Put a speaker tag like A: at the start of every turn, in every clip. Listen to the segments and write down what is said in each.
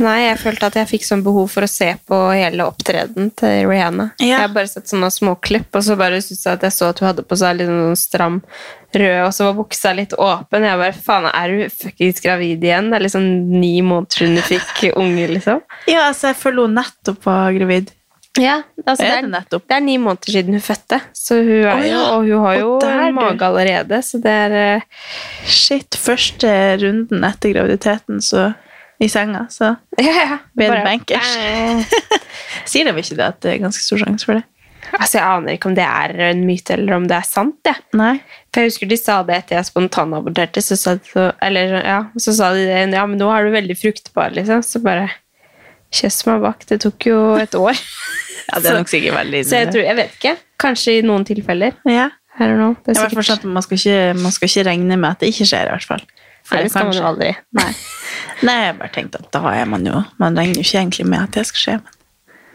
A: Nei, jeg følte at jeg fikk sånn behov for å se på hele opptreden til Rihanna.
B: Ja.
A: Jeg har bare sett sånne små klipp, og så bare syntes jeg at jeg så at hun hadde på seg litt sånn stram rød, og så var buksa litt åpen. Jeg bare, faen, er hun fuckings gravid igjen? Det er liksom ni måneder siden hun fikk unge, liksom.
B: Ja, altså, jeg føler hun nettopp var gravid.
A: Ja, altså, det,
B: Er
A: er,
B: det nettopp?
A: det er ni måneder siden hun fødte, så hun er
B: Å,
A: jo,
B: ja.
A: og hun
B: Og
A: har jo
B: der, du.
A: mage allerede, så det er eh,
B: Shit, første runden etter graviditeten, så i senga, så
A: ja, ja,
B: bedre
A: bare- Eh,
B: bankers. Sier de ikke det at det er ganske stor sjanse for det?
A: Altså, jeg aner ikke om det er en myte, eller om det er sant, jeg.
B: Nei.
A: For jeg husker de sa det etter jeg spontanaborterte, så sa, de så, eller, ja, så sa de det, ja, men nå er du veldig fruktbar, liksom. Så bare, kjøss meg bak, det tok jo et år.
B: Ja, det er nok sikkert veldig
A: Så jeg tror, jeg vet ikke, kanskje i noen tilfeller,
B: Ja.
A: her og nå. Det
B: Det
A: er
B: er i hvert fall
A: sikkert,
B: sånn at man skal, ikke, man skal ikke regne med at det ikke skjer, i hvert fall. For
A: Nei, det skal man
B: kanskje-
A: jo aldri.
B: Nei. Nei, jeg bare tenkte at da er man jo Man regner jo ikke egentlig med at det skal skje,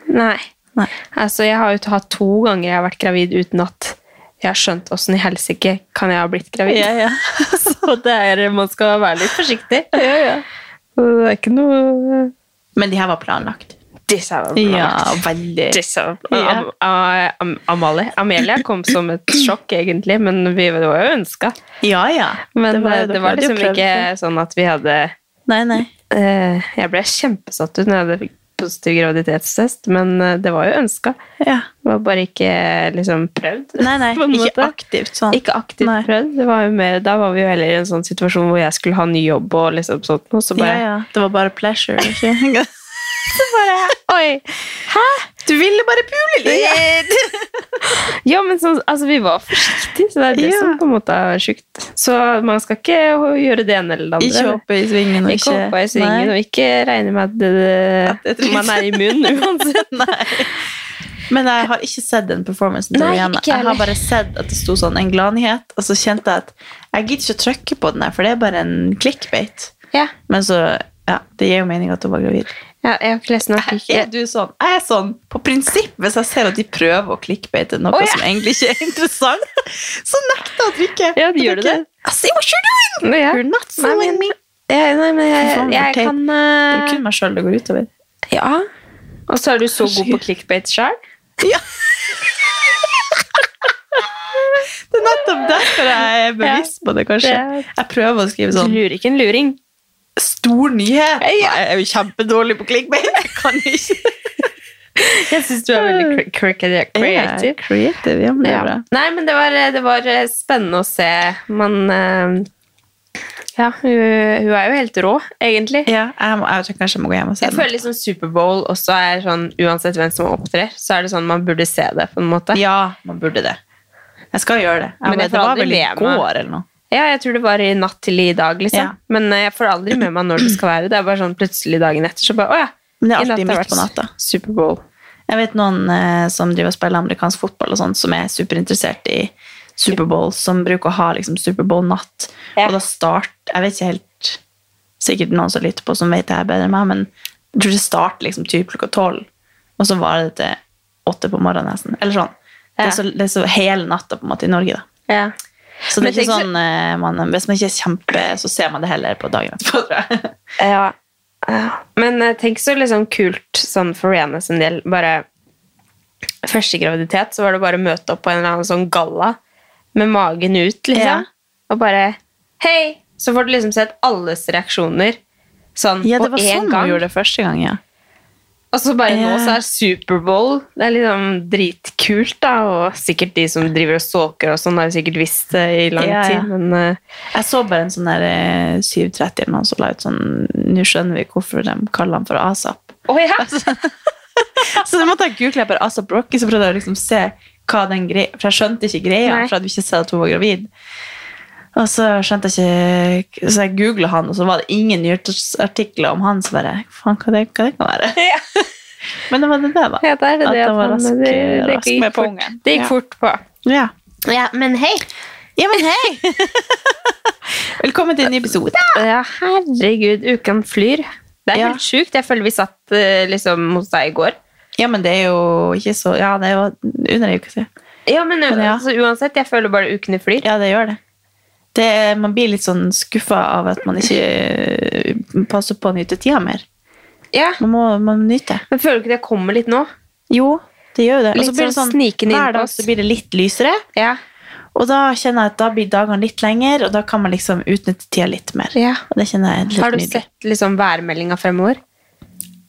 B: men
A: Nei.
B: Nei.
A: Altså, jeg har jo hatt to ganger jeg har vært gravid uten at jeg har skjønt hvordan i helsike kan jeg ha blitt gravid.
B: Ja, ja.
A: Så det er, man skal være litt forsiktig. Så det er ikke noe...
B: Men de her var planlagt. Ja, veldig.
A: Disse-
B: Ja.
A: Am- Am- Am- Amalie. Amelia kom som et sjokk, egentlig, men vi, det var jo ønska.
B: Ja, ja.
A: Men det
B: jo
A: var, det
B: eh, dere
A: var
B: hadde
A: liksom
B: prøvd
A: ikke
B: det.
A: sånn at vi hadde
B: Nei, nei.
A: eh, Jeg ble kjempesatt ut når jeg hadde fikk positiv graviditetstest, men eh, det var jo ønska.
B: Ja.
A: Det var bare ikke eh, liksom prøvd.
B: Nei, nei,
A: på en
B: ikke
A: måte.
B: aktivt sånn.
A: Ikke aktivt
B: Nei.
A: prøvd. Det var jo mer, da var vi jo heller i en sånn situasjon hvor jeg skulle ha ny jobb og liksom sånt noe, så
B: Ja,
A: bare
B: ja. Det var bare pleasure. liksom. Ikke?
A: Oi!
B: Du ville bare pule
A: Ja, men sånn, altså, vi var forsiktige, så det er det
B: Ja.
A: som på en måte er sjukt. Så man skal ikke ho- gjøre det ene eller det andre.
B: Ikke hoppe i svingen og
A: Ikke hoppe i svingen,
B: Nei.
A: og ikke regne med at, det,
B: At det er trygt.
A: man er immun uansett.
B: Nei. Men jeg har ikke sett den performancen. til
A: Nei,
B: Rihanna.
A: ikke jeg
B: jeg har
A: heller.
B: bare sett at det sto sånn en gladnyhet, og så kjente jeg at jeg gidder ikke å trykke på den her, for det er bare en clickbait.
A: Ja.
B: Men så, ja, det gir jo mening at hun var gravid.
A: Ja, jeg har ikke lest nok.
B: Er du sånn? Jeg er sånn på prinsipp. Hvis jeg ser at de prøver å clickbaite noe
A: Å, ja.
B: som egentlig ikke er interessant, så nekter jeg å trykke.
A: Ja, gjør
B: Jeg
A: du det?
B: tenker, I see what you're doing!
A: Nå, ja.
B: You're not
A: Nei, men,
B: following me.
A: ja, nei, men jeg,
B: Faen,
A: jeg
B: for teit.
A: kan
B: Det er
A: eh,
B: kun meg sjøl det går utover.
A: Ja. Og så er du så god på clickbait sjøl.
B: Det er nettopp derfor jeg er bevisst på det, kanskje.
A: Det-
B: Jeg prøver å skrive sånn
A: Lurer ikke en luring.
B: Stor nyhet! Nei, Jeg er jo kjempedårlig på clickbait. Jeg kan ikke.
A: Jeg syns du er veldig cre- cre- creative.
B: Jeg er creative, ja, men det
A: Ja.
B: er bra.
A: Nei, men det var, det var eh, spennende å se. Man eh, Ja, hun, hun er jo helt rå, egentlig.
B: Ja, jeg, må, jeg tror kanskje jeg må gå hjem og se
A: Jeg føler liksom Superbowl også er sånn Uansett hvem som opptrer, så er det sånn man burde se det, på en måte.
B: Ja, man burde det. Jeg skal gjøre det. Jeg
A: Men jeg
B: vet, det
A: får
B: var
A: aldri
B: vel i
A: med meg.
B: går eller noe.
A: Ja, jeg tror det var i natt til i dag, liksom.
B: Ja.
A: Men eh, jeg får aldri med meg når det skal være. Det er bare sånn plutselig dagen etter, så bare Å ja.
B: Men det er
A: i natt
B: alltid
A: har
B: midt på
A: vært
B: natta.
A: Superbowl.
B: Jeg vet noen eh, som driver og spiller amerikansk fotball og sånt, som er superinteressert i Superbowl, som bruker å ha liksom, Superbowl-natt.
A: Ja.
B: Og da start Jeg vet ikke helt Sikkert noen som lytter på, som vet det her bedre enn meg, men jeg tror det starter liksom typ klokka tolv, og så varer det til åtte på morgenen nesten. Eller sånn. Det,
A: Ja.
B: er så, det er så hele natta på en måte i Norge, da.
A: Ja.
B: Så det
A: Men
B: er ikke
A: tenk så-
B: sånn eh, man, Hvis man ikke er kjempe, så ser man det heller på dagen etterpå, tror jeg.
A: Ja. Men eh, tenk så liksom kult sånn for Rihanna sin del. Bare første graviditet, så var det bare å møte opp på en eller annen sånn galla med magen ut,
B: Ja.
A: liksom. Og bare Hei! Så får du liksom sett alles reaksjoner sånn
B: Ja, det
A: på
B: var
A: én
B: sånn
A: gang.
B: hun gjorde det første gang, ja.
A: Og så bare nå
B: Ja.
A: så er Superbowl Det er liksom dritkult, da. Og sikkert de som driver og stalker og sånn, har jo sikkert visst det i lang
B: Ja, ja.
A: tid, men eh,
B: Jeg så bare en sånn der eh, 7.30 eller noen som la ut sånn Nå skjønner vi hvorfor de kaller han for ASAP.
A: Å ja!
B: Så da måtte jeg google jeg bare ASAP Rocky, så prøvde jeg å liksom se hva den greia For jeg skjønte ikke greia,
A: Nei.
B: for jeg hadde ikke sett at hun var gravid. Og så skjønte jeg ikke Så jeg googla han, og så var det ingen nyhetsartikler om han. Så bare Faen, hva det, hva det kan være?
A: Ja.
B: Men det var det der, da.
A: Ja, da er det
B: At
A: det
B: han var
A: han- eh,
B: rask,
A: det, det
B: rask
A: gikk
B: med
A: fort.
B: pungen.
A: Det gikk
B: Ja.
A: fort på.
B: Ja.
A: Ja, men hei!
B: ja, men hei! Velkommen til en ny episode.
A: Ja, herregud, uken flyr. Det er
B: Ja.
A: helt sjukt. Jeg føler vi satt eh, liksom hos deg i går.
B: Ja, men det er jo ikke så Ja, det er jo under ei uke siden.
A: Ja, men,
B: Men ja.
A: Altså, uansett, jeg føler bare ukene flyr.
B: Ja, det gjør det. det man blir litt sånn skuffa av at man ikke eh, passer på å nyte tida mer.
A: Ja.
B: Man må, man må nyte.
A: Men føler du ikke det kommer litt nå?
B: Jo, det gjør jo det. Og
A: Litt
B: så blir det
A: sånn snikende
B: Hver dag
A: innpass.
B: så blir det litt lysere,
A: Ja.
B: og da kjenner jeg at da blir dagene litt lengre, og da kan man liksom utnytte tida litt mer.
A: Ja.
B: Og det kjenner jeg er litt
A: Har du
B: nydelig.
A: sett liksom værmeldinga fremover?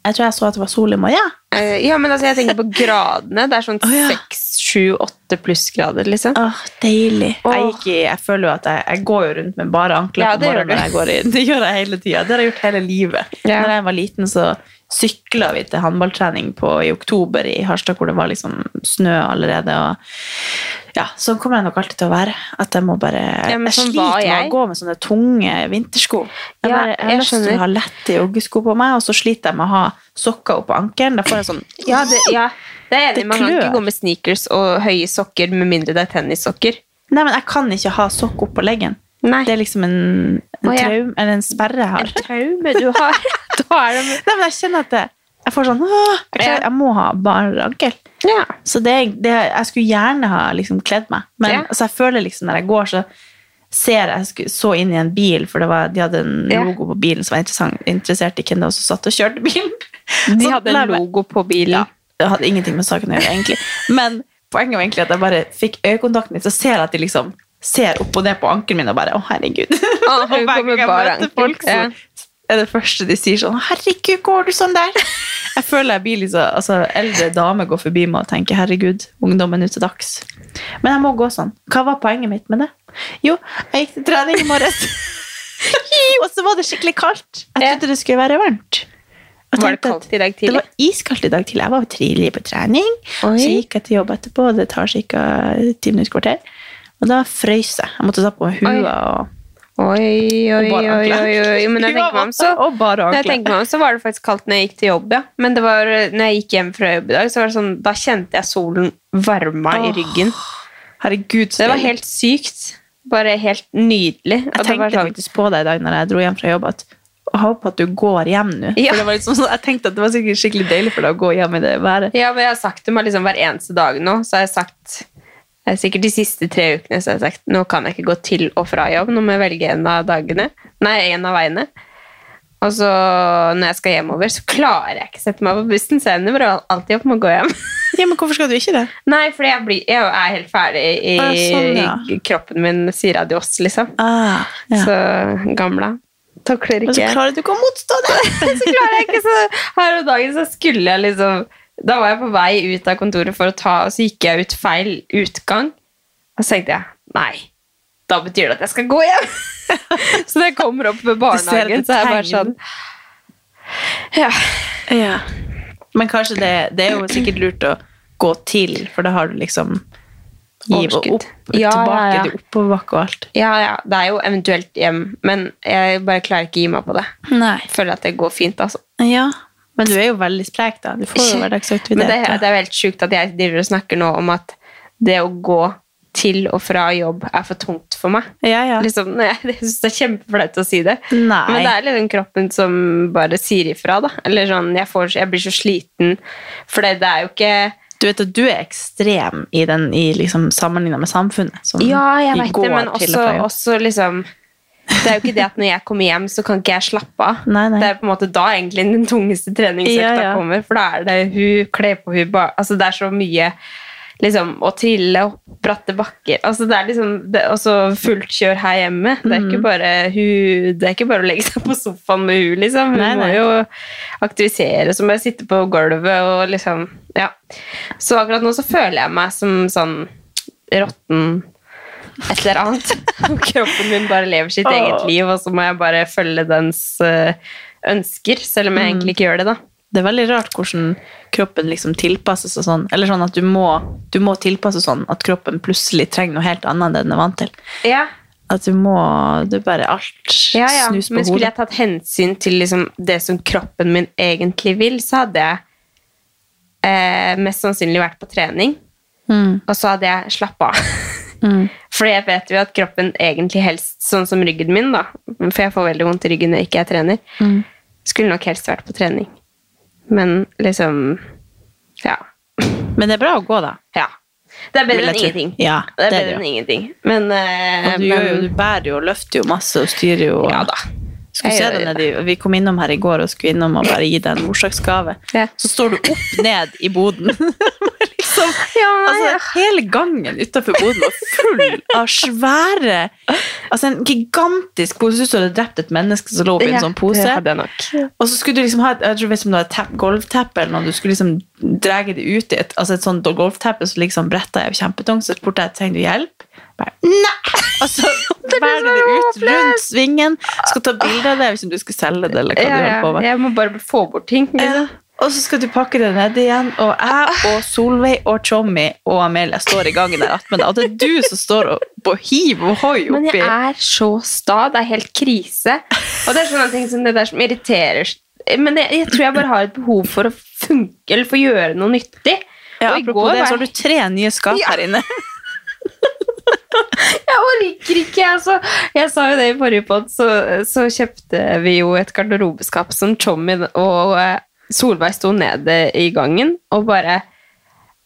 B: Jeg tror jeg så at det var sol i morgen. Ja.
A: Eh, ja, men altså, jeg tenker på gradene. Det er sånn
B: Å, ja.
A: seks, sju, åtte plussgrader, liksom.
B: Åh, deilig. Jeg,
A: Åh.
B: gikk i, jeg føler jo at jeg, jeg går jo rundt med bare ankler
A: Ja,
B: på
A: det gjør
B: morgenen
A: du.
B: når jeg går inn. Det gjør jeg hele tida. Det har jeg gjort hele livet.
A: Ja.
B: Når jeg var liten, så sykla vi til håndballtrening på, i oktober i Harstad, hvor det var liksom snø allerede. Og ja, sånn kommer jeg nok alltid til å være. At jeg må bare
A: Ja, men
B: Jeg
A: sånn
B: sliter
A: var
B: med
A: jeg.
B: å gå med sånne tunge vintersko. Jeg,
A: Ja,
B: bare, jeg,
A: jeg
B: har lyst til
A: skjønner.
B: å ha lette joggesko på meg, og så sliter jeg med å ha sokker opp på ankelen. Da får jeg sånn
A: Ja, det, ja. det er jeg enig.
B: Det
A: i. Man kan ikke
B: klør.
A: gå med sneakers og høye sokker med mindre det er tennissokker.
B: Nei, men jeg kan ikke ha sokk opp på leggen.
A: Nei.
B: Det er liksom en, en
A: Å, ja.
B: traum, eller en sperre jeg har.
A: Et traume du har. da er det
B: Nei, men jeg kjenner at det, jeg får sånn, åh, jeg,
A: Ja.
B: klarer, jeg må ha bare ankel.
A: ja.
B: Så det, det, jeg skulle gjerne ha liksom kledd meg. Men
A: Ja.
B: altså, jeg føler liksom når jeg går, så ser jeg, jeg skulle, så inn i en bil, for det var, de hadde en
A: Ja.
B: logo på bilen som var interessant, interessert i hvem det var som satt og kjørte bilen.
A: De
B: Så
A: hadde
B: la
A: en
B: jeg meg-
A: logo på bilen.
B: Sånn ja, det hadde ingenting med saken å gjøre, egentlig. Men poenget var egentlig at jeg bare fikk øyekontakten min, så ser jeg at de liksom ser opp og ned på ankelen min og bare 'Å, herregud'.
A: Å,
B: og
A: hun
B: hver
A: går med
B: gang jeg møter
A: bare ankel.
B: folk, så
A: Ja.
B: er det første de sier sånn 'Herregud, går du sånn der?' Jeg føler jeg blir liksom Altså, eldre damer går forbi meg og tenker 'Herregud, ungdommen er til dags'. Men jeg må gå sånn. Hva var poenget mitt med det? Jo, jeg gikk til trening i morges. og så var det skikkelig kaldt. Jeg
A: Ja.
B: trodde det skulle være varmt. Og
A: Var det
B: tenkte at-
A: kaldt i dag
B: det
A: tidlig?
B: var iskaldt i dag tidlig. Jeg var jo tidlig på trening.
A: Oi.
B: Så gikk jeg til jobb etterpå, og det tar ca. ti minutter kvarter. Og da frøys jeg. Jeg måtte ta på meg
A: Oi.
B: hua og,
A: Oi, oi,
B: og
A: oi,
B: bare
A: oi,
B: ankler.
A: oi. Men når jeg tenker meg om, så
B: Og bare
A: når jeg
B: ankler.
A: tenker meg om, så var det faktisk kaldt når jeg gikk til jobb, ja. Men det var, når jeg gikk hjem fra jobb i dag, så var det sånn, da kjente jeg solen varma i
B: Åh,
A: ryggen.
B: Herregud, så
A: Det var
B: deilig.
A: helt sykt. Bare helt nydelig. Og
B: Jeg
A: det var
B: tenkte
A: sånn-
B: faktisk på deg i dag når jeg dro hjem fra jobb, at jeg håper at du går hjem nå.
A: Ja.
B: For det var liksom sånn, jeg tenkte at det var sikkert skikkelig deilig for deg å gå hjem i det været.
A: Ja, men jeg har sagt til meg liksom hver eneste dag nå, så har jeg sagt eh, Sikkert de siste tre ukene så har jeg sagt nå kan jeg ikke gå til og fra jobb. Nå må jeg velge en av dagene. Nei, en av veiene. Og så når jeg skal hjemover, så klarer jeg ikke å sette meg på bussen, så jeg ender bare alltid opp med å gå hjem.
B: Ja, men hvorfor skal du ikke det?
A: Nei, fordi jeg, blir, jeg er helt ferdig i
B: Ah, sånn, ja.
A: i kroppen min, sier adios, liksom.
B: Ah, ja.
A: Så gamla. Takler
B: men
A: ikke
B: så klarer du ikke å motstå det!
A: så klarer jeg ikke så Her om dagen så skulle jeg liksom Da var jeg på vei ut av kontoret for å ta Og så gikk jeg ut feil utgang Og så tenkte jeg, nei Da betyr det at jeg skal gå hjem Så når jeg kommer opp ved
B: Du ser
A: barnehagen Så
B: etter
A: er jeg bare sånn
B: tegn.
A: Ja,
B: Ja. Men kanskje det, det er jo sikkert lurt å gå til, for da har du liksom giv og
A: Overskudd.
B: opp,
A: Ja,
B: tilbake
A: ja, ja.
B: til oppoverbakke og alt.
A: ja, ja Det er jo eventuelt hjem Men jeg bare klarer ikke å gi meg på det
B: Nei.
A: Føler at det går fint altså
B: Ja. Men du er jo veldig sprek, da. Du får jo hverdagsaktivitet.
A: Men det,
B: da.
A: det er jo helt sjukt at jeg driver og snakker nå om at det å gå til og fra jobb er for tungt for meg.
B: Ja, ja.
A: Liksom, nei, jeg synes det er kjempeflaut å si det.
B: Nei.
A: Men det er liksom kroppen som bare sier ifra, da. Eller sånn, jeg, får, jeg blir så sliten. For det, det er jo ikke
B: Du vet at du er ekstrem i, den, i liksom sammenligna med samfunnet. Som
A: Ja,
B: vi
A: jeg vet
B: liksom. går
A: det, men
B: til
A: også,
B: og fra jobb.
A: også liksom Det er jo ikke det at når jeg kommer hjem, så kan ikke jeg slappe av.
B: Nei, nei.
A: Det er på en måte da egentlig den tungeste treningsøkta
B: Ja, ja.
A: kommer, for da er det hun kler på hun ba, Altså, det er så mye liksom, å trille opp bratte bakker. Altså, det er liksom det, er også fullt kjør her hjemme. Det er,
B: Mhm.
A: ikke bare, hun, det er ikke bare å legge seg på sofaen med hun, liksom. Hun
B: Nei,
A: må
B: nei.
A: jo aktivisere, så må jeg sitte på gulvet og liksom Ja. Så akkurat nå så føler jeg meg som sånn råtten et eller annet. Kroppen min bare lever sitt eget liv, og så må jeg bare følge dens eh, ønsker, selv om jeg egentlig ikke gjør det, da.
B: Det er veldig rart hvordan kroppen liksom tilpasses og sånn. Eller sånn at du må, du må tilpasse sånn at kroppen plutselig trenger noe helt annet enn den er vant til.
A: Ja,
B: At du må Du bare alt
A: Ja, ja.
B: snus på
A: Men skulle
B: hodet.
A: jeg tatt hensyn til liksom det som kroppen min egentlig vil, så hadde jeg eh, mest sannsynlig vært på trening,
B: Mm.
A: og så hadde jeg slappa av. Fordi jeg vet jo at kroppen egentlig helst, sånn som ryggen min, da, for jeg får veldig vondt i ryggen når ikke jeg trener, skulle nok helst vært på trening. Men liksom Ja.
B: Men det er bra å gå, da.
A: ja. Det er
B: Vil
A: bedre
B: jeg
A: enn
B: tro.
A: ingenting.
B: Ja,
A: det er
B: det er
A: bedre
B: det,
A: enn ingenting. Men, eh,
B: Og du,
A: men
B: gjør jo, du bærer jo og løfter jo masse og styrer jo. og-
A: Ja da.
B: Skulle
A: Jeg
B: se
A: gjør
B: deg nedi- Vi kom innom her i går og skulle innom og bare gi deg en bursdagsgave.
A: Ja.
B: Så står du opp ned i boden. liksom,
A: Ja, men nei,
B: altså, hele gangen utenfor boden var full av svære Altså en gigantisk pose. Du så du hadde drept et menneske som lå oppi en sånn pose.
A: Det hadde jeg nok.
B: Og så skulle du liksom ha et, jeg tror hvis du hadde tepp, golvteppe eller noe, du skulle liksom dra det ut i et, altså et sånt golvteppe, så liksom bretta jeg jo kjempetungt, så spurte jeg, trenger du hjelp? Bare, nei! Og så bærer du det ut rundt svingen, skal ta bilder av det hvis du skal selge det, eller hva
A: Ja,
B: du
A: ja.
B: holder på med.
A: Jeg må bare få bort ting.
B: Ja.
A: Liksom.
B: Og så skal du pakke det ned igjen, og jeg og Solveig og Tommy og Amelia står i gangen der attmed deg, og det er du som står og, på hiv og hoi oppi.
A: Men jeg er så sta. Det er helt krise. Og det er sånne ting som det der som irriterer Men jeg, jeg tror jeg bare har et behov for å funke eller for å gjøre noe nyttig.
B: ja,
A: og i
B: apropos
A: går
B: det,
A: var
B: så har
A: jeg-
B: du tre nye skap her inne.
A: Jeg orker ikke! Altså. Jeg sa jo det i forrige pod, så, så kjøpte vi jo et garderobeskap som Tommy og eh, Solveig sto nede i gangen og bare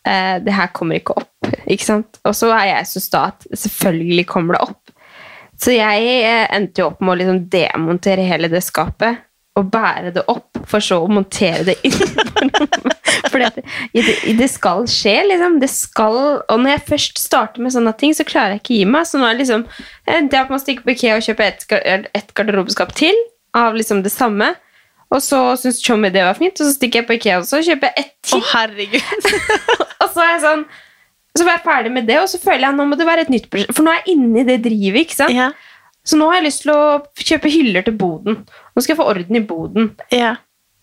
A: eh, Det her kommer ikke opp, ikke sant? Og så er jeg så sta at selvfølgelig kommer det opp. Så jeg eh, endte jo opp med å liksom demontere hele det skapet og bære det opp, for så å montere det inn. Fordi at i det, i det skal skje, liksom. Det skal, og når jeg først starter med sånne ting, så klarer jeg ikke gi meg. Så nå er det liksom, jeg endte jeg opp med å stikke på IKEA og kjøpe et, gar- et garderobeskap til av liksom det samme. Og så syns Chommy det var fint, og så stikker jeg på IKEA også og kjøper ett
B: Å,
A: til.
B: herregud.
A: Og så er jeg sånn, så var jeg ferdig med det, og så føler jeg nå må det være et nytt prosjekt. For nå er jeg inne i det drivet, ikke sant.
B: Ja,
A: Så nå har jeg lyst til å kjøpe hyller til boden. Nå skal jeg få orden i boden.
B: Ja.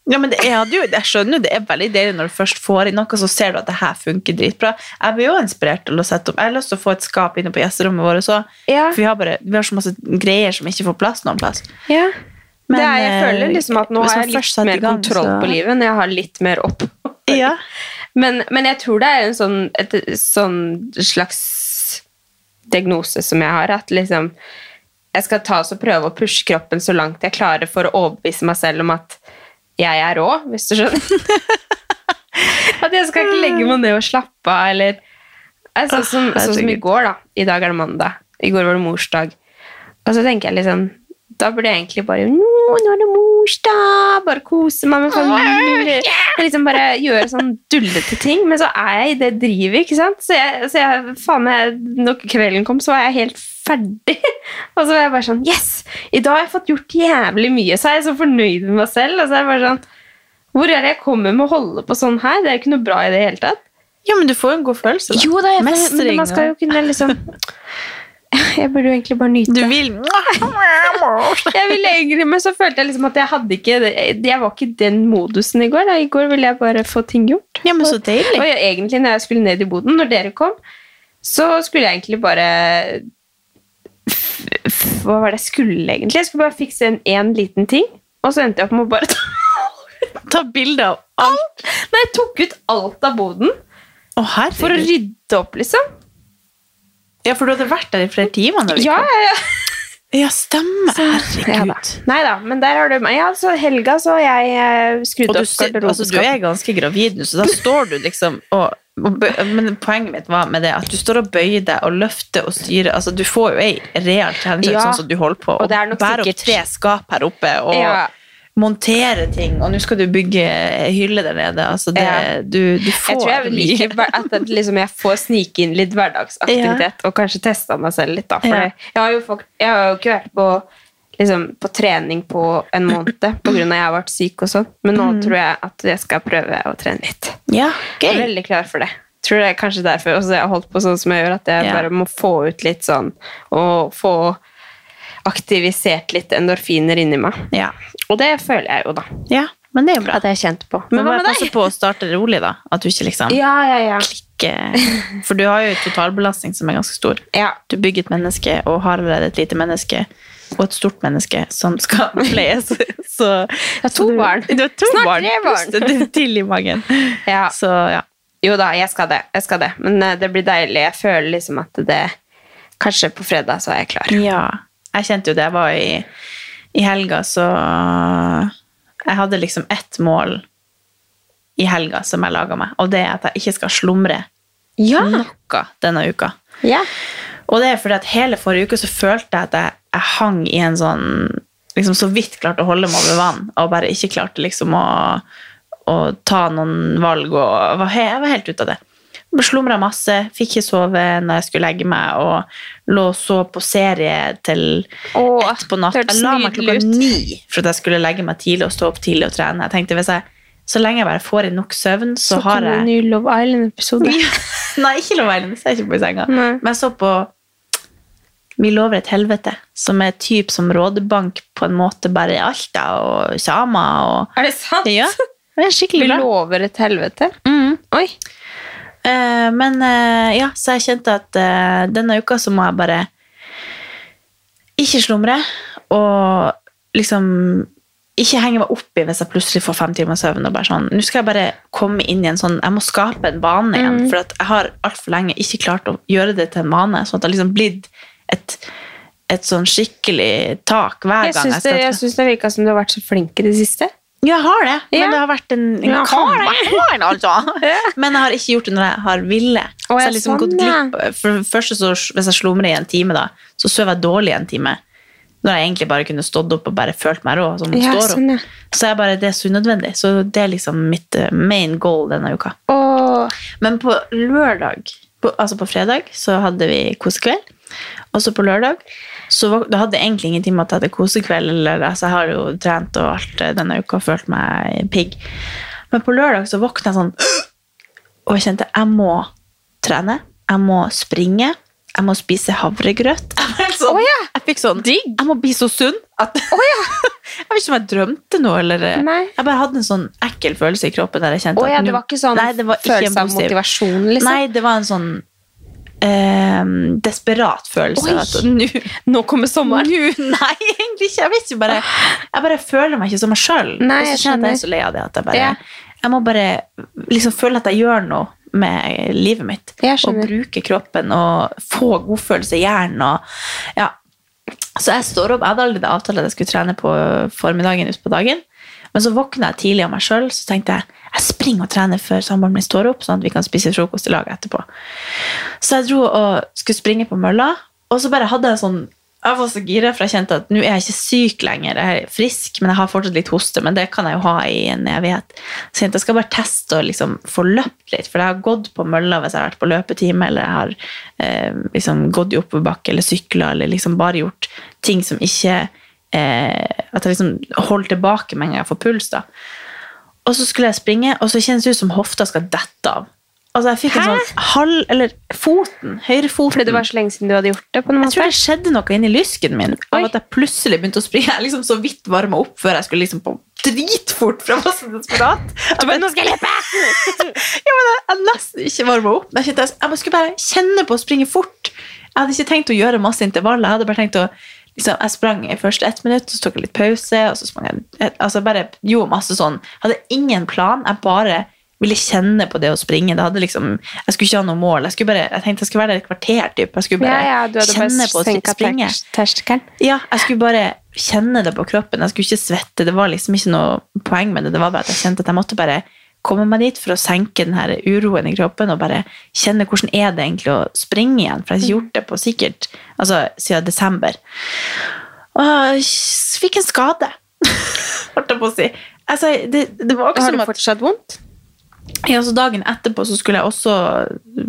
B: Ja, men det, jeg, hadde jo, jeg skjønner jo, det er veldig deilig når du først får inn noe, så ser du at det her funker dritbra. Jeg blir jo inspirert til å sette opp. Jeg har lyst til å få et skap inne på gjesterommet vårt også.
A: Ja.
B: For vi har, bare, vi har så masse greier som ikke får plass noen plass. Men,
A: det er, jeg
B: eh,
A: føler liksom at nå
B: hvis
A: har
B: man
A: jeg
B: først
A: litt
B: setter i
A: mer
B: gang,
A: kontroll
B: så-
A: på livet når jeg har litt mer opp.
B: Ja.
A: Men, men jeg tror det er en sånn, et, sånn slags diagnose som jeg har, at liksom jeg skal ta oss og prøve å pushe kroppen så langt jeg klarer for å overbevise meg selv om at jeg er rå, hvis du skjønner. at jeg skal ikke legge meg ned og slappe av, eller Nei, Sånn som,
B: Åh,
A: sånn som i
B: herregud.
A: går, da. I dag er det mandag. I går var det morsdag. Og så tenker jeg liksom Da burde jeg egentlig bare Nå, nå er det morsdag! Bare kose meg med familien. Liksom bare gjøre sånn dullete ting. Men så er jeg i det drivet, ikke sant? Så jeg, så jeg faen meg Når kvelden kom, så var jeg helt ferdig. Og så var jeg bare sånn Yes! I dag har jeg fått gjort jævlig mye. Så er jeg så fornøyd med meg selv. Og så er jeg bare sånn Hvor er det jeg kommer med å holde på sånn her? Det er jo ikke noe bra i det hele tatt.
B: ja, men du får jo en god følelse. Da.
A: Jo da, jeg, men,
B: Mestring,
A: man skal jo kunne liksom Jeg burde jo egentlig bare nyte.
B: Du vil
A: Jeg ville egentlig, Men så følte jeg liksom at jeg hadde ikke Jeg var ikke i den modusen i går. Da. I går ville jeg bare få ting gjort.
B: Ja, men så
A: Og
B: deilig.
A: jeg, egentlig når jeg skulle ned i boden, når dere kom, så skulle jeg egentlig bare Hva var det jeg skulle egentlig? Jeg skulle bare fikse en, en liten ting, og så endte jeg opp med å bare ta
B: Ta bilde av alt.
A: Nei, jeg tok ut alt av boden
B: Å,
A: for å
B: herregud.
A: rydde opp, liksom.
B: Ja, for du hadde vært der i flere timer. når vi
A: Ja,
B: kom.
A: ja, ja.
B: ja stemmer.
A: Ja
B: Herregud.
A: da. Nei da, men der har du meg. Ja, så helga så har jeg eh, skrudd
B: Og du,
A: opp
B: ser- altså, du
A: garderobeskapet.
B: er ganske gravid nå, så da står du liksom og, og bø- Men poenget mitt var med det at du står og bøyer deg og løfter og styrer. Altså, du får jo ei real treningsøkt
A: Ja,
B: sånn som du holder på.
A: og det er nok
B: bærer
A: sikkert-
B: opp tre skap her oppe og
A: Ja.
B: montere ting, og nå skal du bygge hylle der nede. Altså det,
A: Ja.
B: du, du får
A: Jeg tror jeg
B: mye.
A: liker hver- at det liksom, jeg får snike inn litt hverdagsaktivitet, og kanskje testa meg selv litt. Da, for
B: Ja.
A: jeg, har jo fått- jeg har jo ikke vært på, liksom, på trening på en måned pga. at jeg har vært syk og sånn, men
B: Mm.
A: nå tror jeg at jeg skal prøve å trene litt.
B: Ja,
A: Jeg er
B: gøy.
A: veldig klar for det. Tror det er kanskje derfor også jeg har holdt på sånn som jeg gjør, at jeg
B: Ja.
A: bare må få ut litt sånn Og få aktivisert litt endorfiner inni meg.
B: Ja.
A: Og det føler jeg jo, da.
B: ja, men det er jo bra.
A: At jeg har kjent på.
B: Men hva med deg? Passe på å starte rolig, da. At du ikke liksom
A: Ja, ja, ja.
B: ikke- For du har jo en totalbelastning som er ganske stor.
A: ja.
B: Du bygger et menneske og har allerede et lite menneske og et stort menneske som skal pleies. Så,
A: har to
B: så du-
A: barn.
B: Du har to
A: Snart
B: barn.
A: tre barn.
B: Plus det er til i magen.
A: Ja.
B: Så ja.
A: Jo da, jeg skal det. Jeg skal det. Men eh, det blir deilig. Jeg føler liksom at det Kanskje på fredag så er jeg klar.
B: ja. Jeg kjente jo det. Jeg var i, i helga, så Jeg hadde liksom ett mål i helga som jeg laga meg, og det er at jeg ikke skal slumre
A: Ja.
B: noe denne uka. Og det er fordi at hele forrige uke så følte jeg at jeg, jeg hang i en sånn liksom Så vidt klarte å holde meg over vann, og bare ikke klarte liksom å, å ta noen valg. og var, he- Jeg var helt ute av det. Slumra masse, fikk ikke sove når jeg skulle legge meg, og lå og så på serie til
A: Åh,
B: ett på natt.
A: det hørtes
B: Jeg la meg
A: nydelig
B: klokka
A: ut.
B: ni for at jeg skulle legge meg tidlig og stå opp tidlig og trene. Jeg tenkte, hvis jeg, Så lenge jeg bare får inn nok søvn, så, har jeg
A: ny Love Island-episode.
B: Nei, ikke Love Island. Jeg ser ikke på i senga.
A: Nei.
B: Men jeg så på Vi lover et helvete, som er typ som Rådebank på en måte bare i Alta og samer og
A: Er det sant?
B: Ja. Mm. Det er
A: Vi
B: skikkelig bra.
A: lover et helvete. Oi.
B: Eh, men eh, ja, så jeg kjente at eh, denne uka så må jeg bare ikke slumre, og liksom ikke henge meg opp i hvis jeg plutselig får fem timer søvn. og bare sånn, Nå skal jeg bare komme inn i en sånn Jeg må skape en vane igjen.
A: Mm.
B: For at jeg har altfor lenge ikke klart å gjøre det til en vane. Sånn at det har liksom blitt et, et sånn skikkelig tak hver
A: Jeg
B: gang.
A: syns det, jeg syns det virka som du har vært så flink i det siste.
B: Ja, jeg har det,
A: Ja.
B: men det har vært en, en
A: Ja, har det?
B: comeback, altså. Men jeg har ikke gjort det når jeg har ville. Så
A: Å,
B: jeg
A: ja,
B: har liksom
A: sånn,
B: gått
A: ja.
B: glipp. For det første så, Hvis jeg slumrer i en time, da, så sover jeg dårlig i en time. Når jeg egentlig bare kunne stått opp og bare følt meg rå. Som
A: Ja,
B: står opp.
A: sånn, ja.
B: Så jeg bare, det er så unødvendig. Så det er liksom mitt eh, main goal denne uka.
A: Og
B: Men på lørdag, på, altså på fredag, så hadde vi kosekveld. Og så på lørdag så var, det hadde jeg egentlig ingenting med at jeg hadde kosekveld. Eller, altså, jeg har jo trent og alt eh, denne uka og følt meg pigg. Men på lørdag så våkna jeg sånn Og jeg kjente jeg må trene. Jeg må springe. Jeg må spise havregrøt. Jeg var helt sånn- Jeg fikk sånn Jeg må bli så sunn at Jeg vet ikke om jeg drømte noe, eller eh,
A: Nei.
B: Jeg bare hadde en sånn ekkel følelse i kroppen der jeg kjente
A: Å ja,
B: at
A: det
B: nå-
A: var ikke sånn
B: Nei, det var ikke
A: følelse
B: en
A: av
B: positiv-
A: motivasjon, liksom?
B: Nei, det var en sånn ehm, desperat følelse.
A: Oi.
B: av at Nå
A: Nå kommer sommeren.
B: nå- Nei, egentlig ikke. Jeg vet ikke, bare, jeg bare føler meg ikke som meg sjøl.
A: Nei,
B: Og så
A: jeg
B: kjenner jeg at jeg er
A: skjønner.
B: så lei av det at jeg bare
A: Ja.
B: Jeg må bare liksom føle at jeg gjør noe med livet mitt.
A: Jeg
B: Og
A: skjønner.
B: bruke kroppen og få godfølelse i hjernen og Ja. Så jeg står opp. Jeg hadde aldri avtalt at jeg skulle trene på formiddagen ut på dagen. Men så våkna jeg tidlig av meg sjøl, så tenkte jeg jeg springer og trener før samboeren min står opp, sånn at vi kan spise frokost i lag etterpå. Så jeg dro og skulle springe på mølla, og så bare hadde jeg sånn jeg var så gira, for jeg kjente at nå er jeg ikke syk lenger. Jeg er frisk, men jeg har fortsatt litt hoste. Men det kan jeg jo ha i en evighet. Så jeg tenkte jeg skal bare teste og liksom få løpt litt. For jeg har gått på mølla hvis jeg har vært på løpetime, eller jeg har eh, liksom gått i oppoverbakke eller sykla, eller liksom bare gjort ting som ikke eh, At jeg liksom holder tilbake med en gang jeg får puls. da. Og så skulle jeg springe, og så kjennes det ut som hofta skal dette av. Altså, jeg fikk en sånn halv Eller foten. Høyrefoten.
A: Fordi det var så lenge siden du hadde gjort det. på en
B: Jeg tror
A: måte.
B: det skjedde noe inni lysken min av
A: Oi.
B: at jeg plutselig begynte å springe. Jeg liksom så vidt varma opp før jeg skulle liksom på dritfort, for jeg var så desperat. Du bare, nå skal jeg løpe! ja, men jeg, jeg nesten ikke varma opp. Men Jeg, kjente, jeg bare skulle bare kjenne på å springe fort. Jeg hadde ikke tenkt å gjøre masse intervaller. Jeg hadde bare tenkt å liksom, Jeg sprang i først ett minutt, så tok jeg litt pause, og så sprang jeg et, altså bare gjorde masse sånn. Jeg hadde ingen plan. Jeg bare ville kjenne på det å springe. Det hadde liksom, jeg skulle ikke ha noe mål. Jeg, skulle bare, jeg tenkte jeg skulle være der et kvarter. Typ. Jeg skulle
A: Ja,
B: bare
A: ja, du hadde
B: kjenne
A: bare
B: på å
A: senka
B: springe.
A: tersk- terskelen.
B: Ja, jeg skulle bare kjenne det på kroppen. Jeg skulle ikke svette. Det var liksom ikke noe poeng med det. Det var bare at jeg kjente at jeg måtte bare komme meg dit for å senke den her uroen i kroppen og bare kjenne hvordan er det egentlig å springe igjen. For jeg har ikke gjort det på sikkert altså, siden desember. Og jeg s- fikk en skade. Holdt jeg på å si. Altså, det, det var ikke
A: Har
B: som
A: det
B: at
A: fortsatt vondt?
B: Ja, så Dagen etterpå så skulle jeg også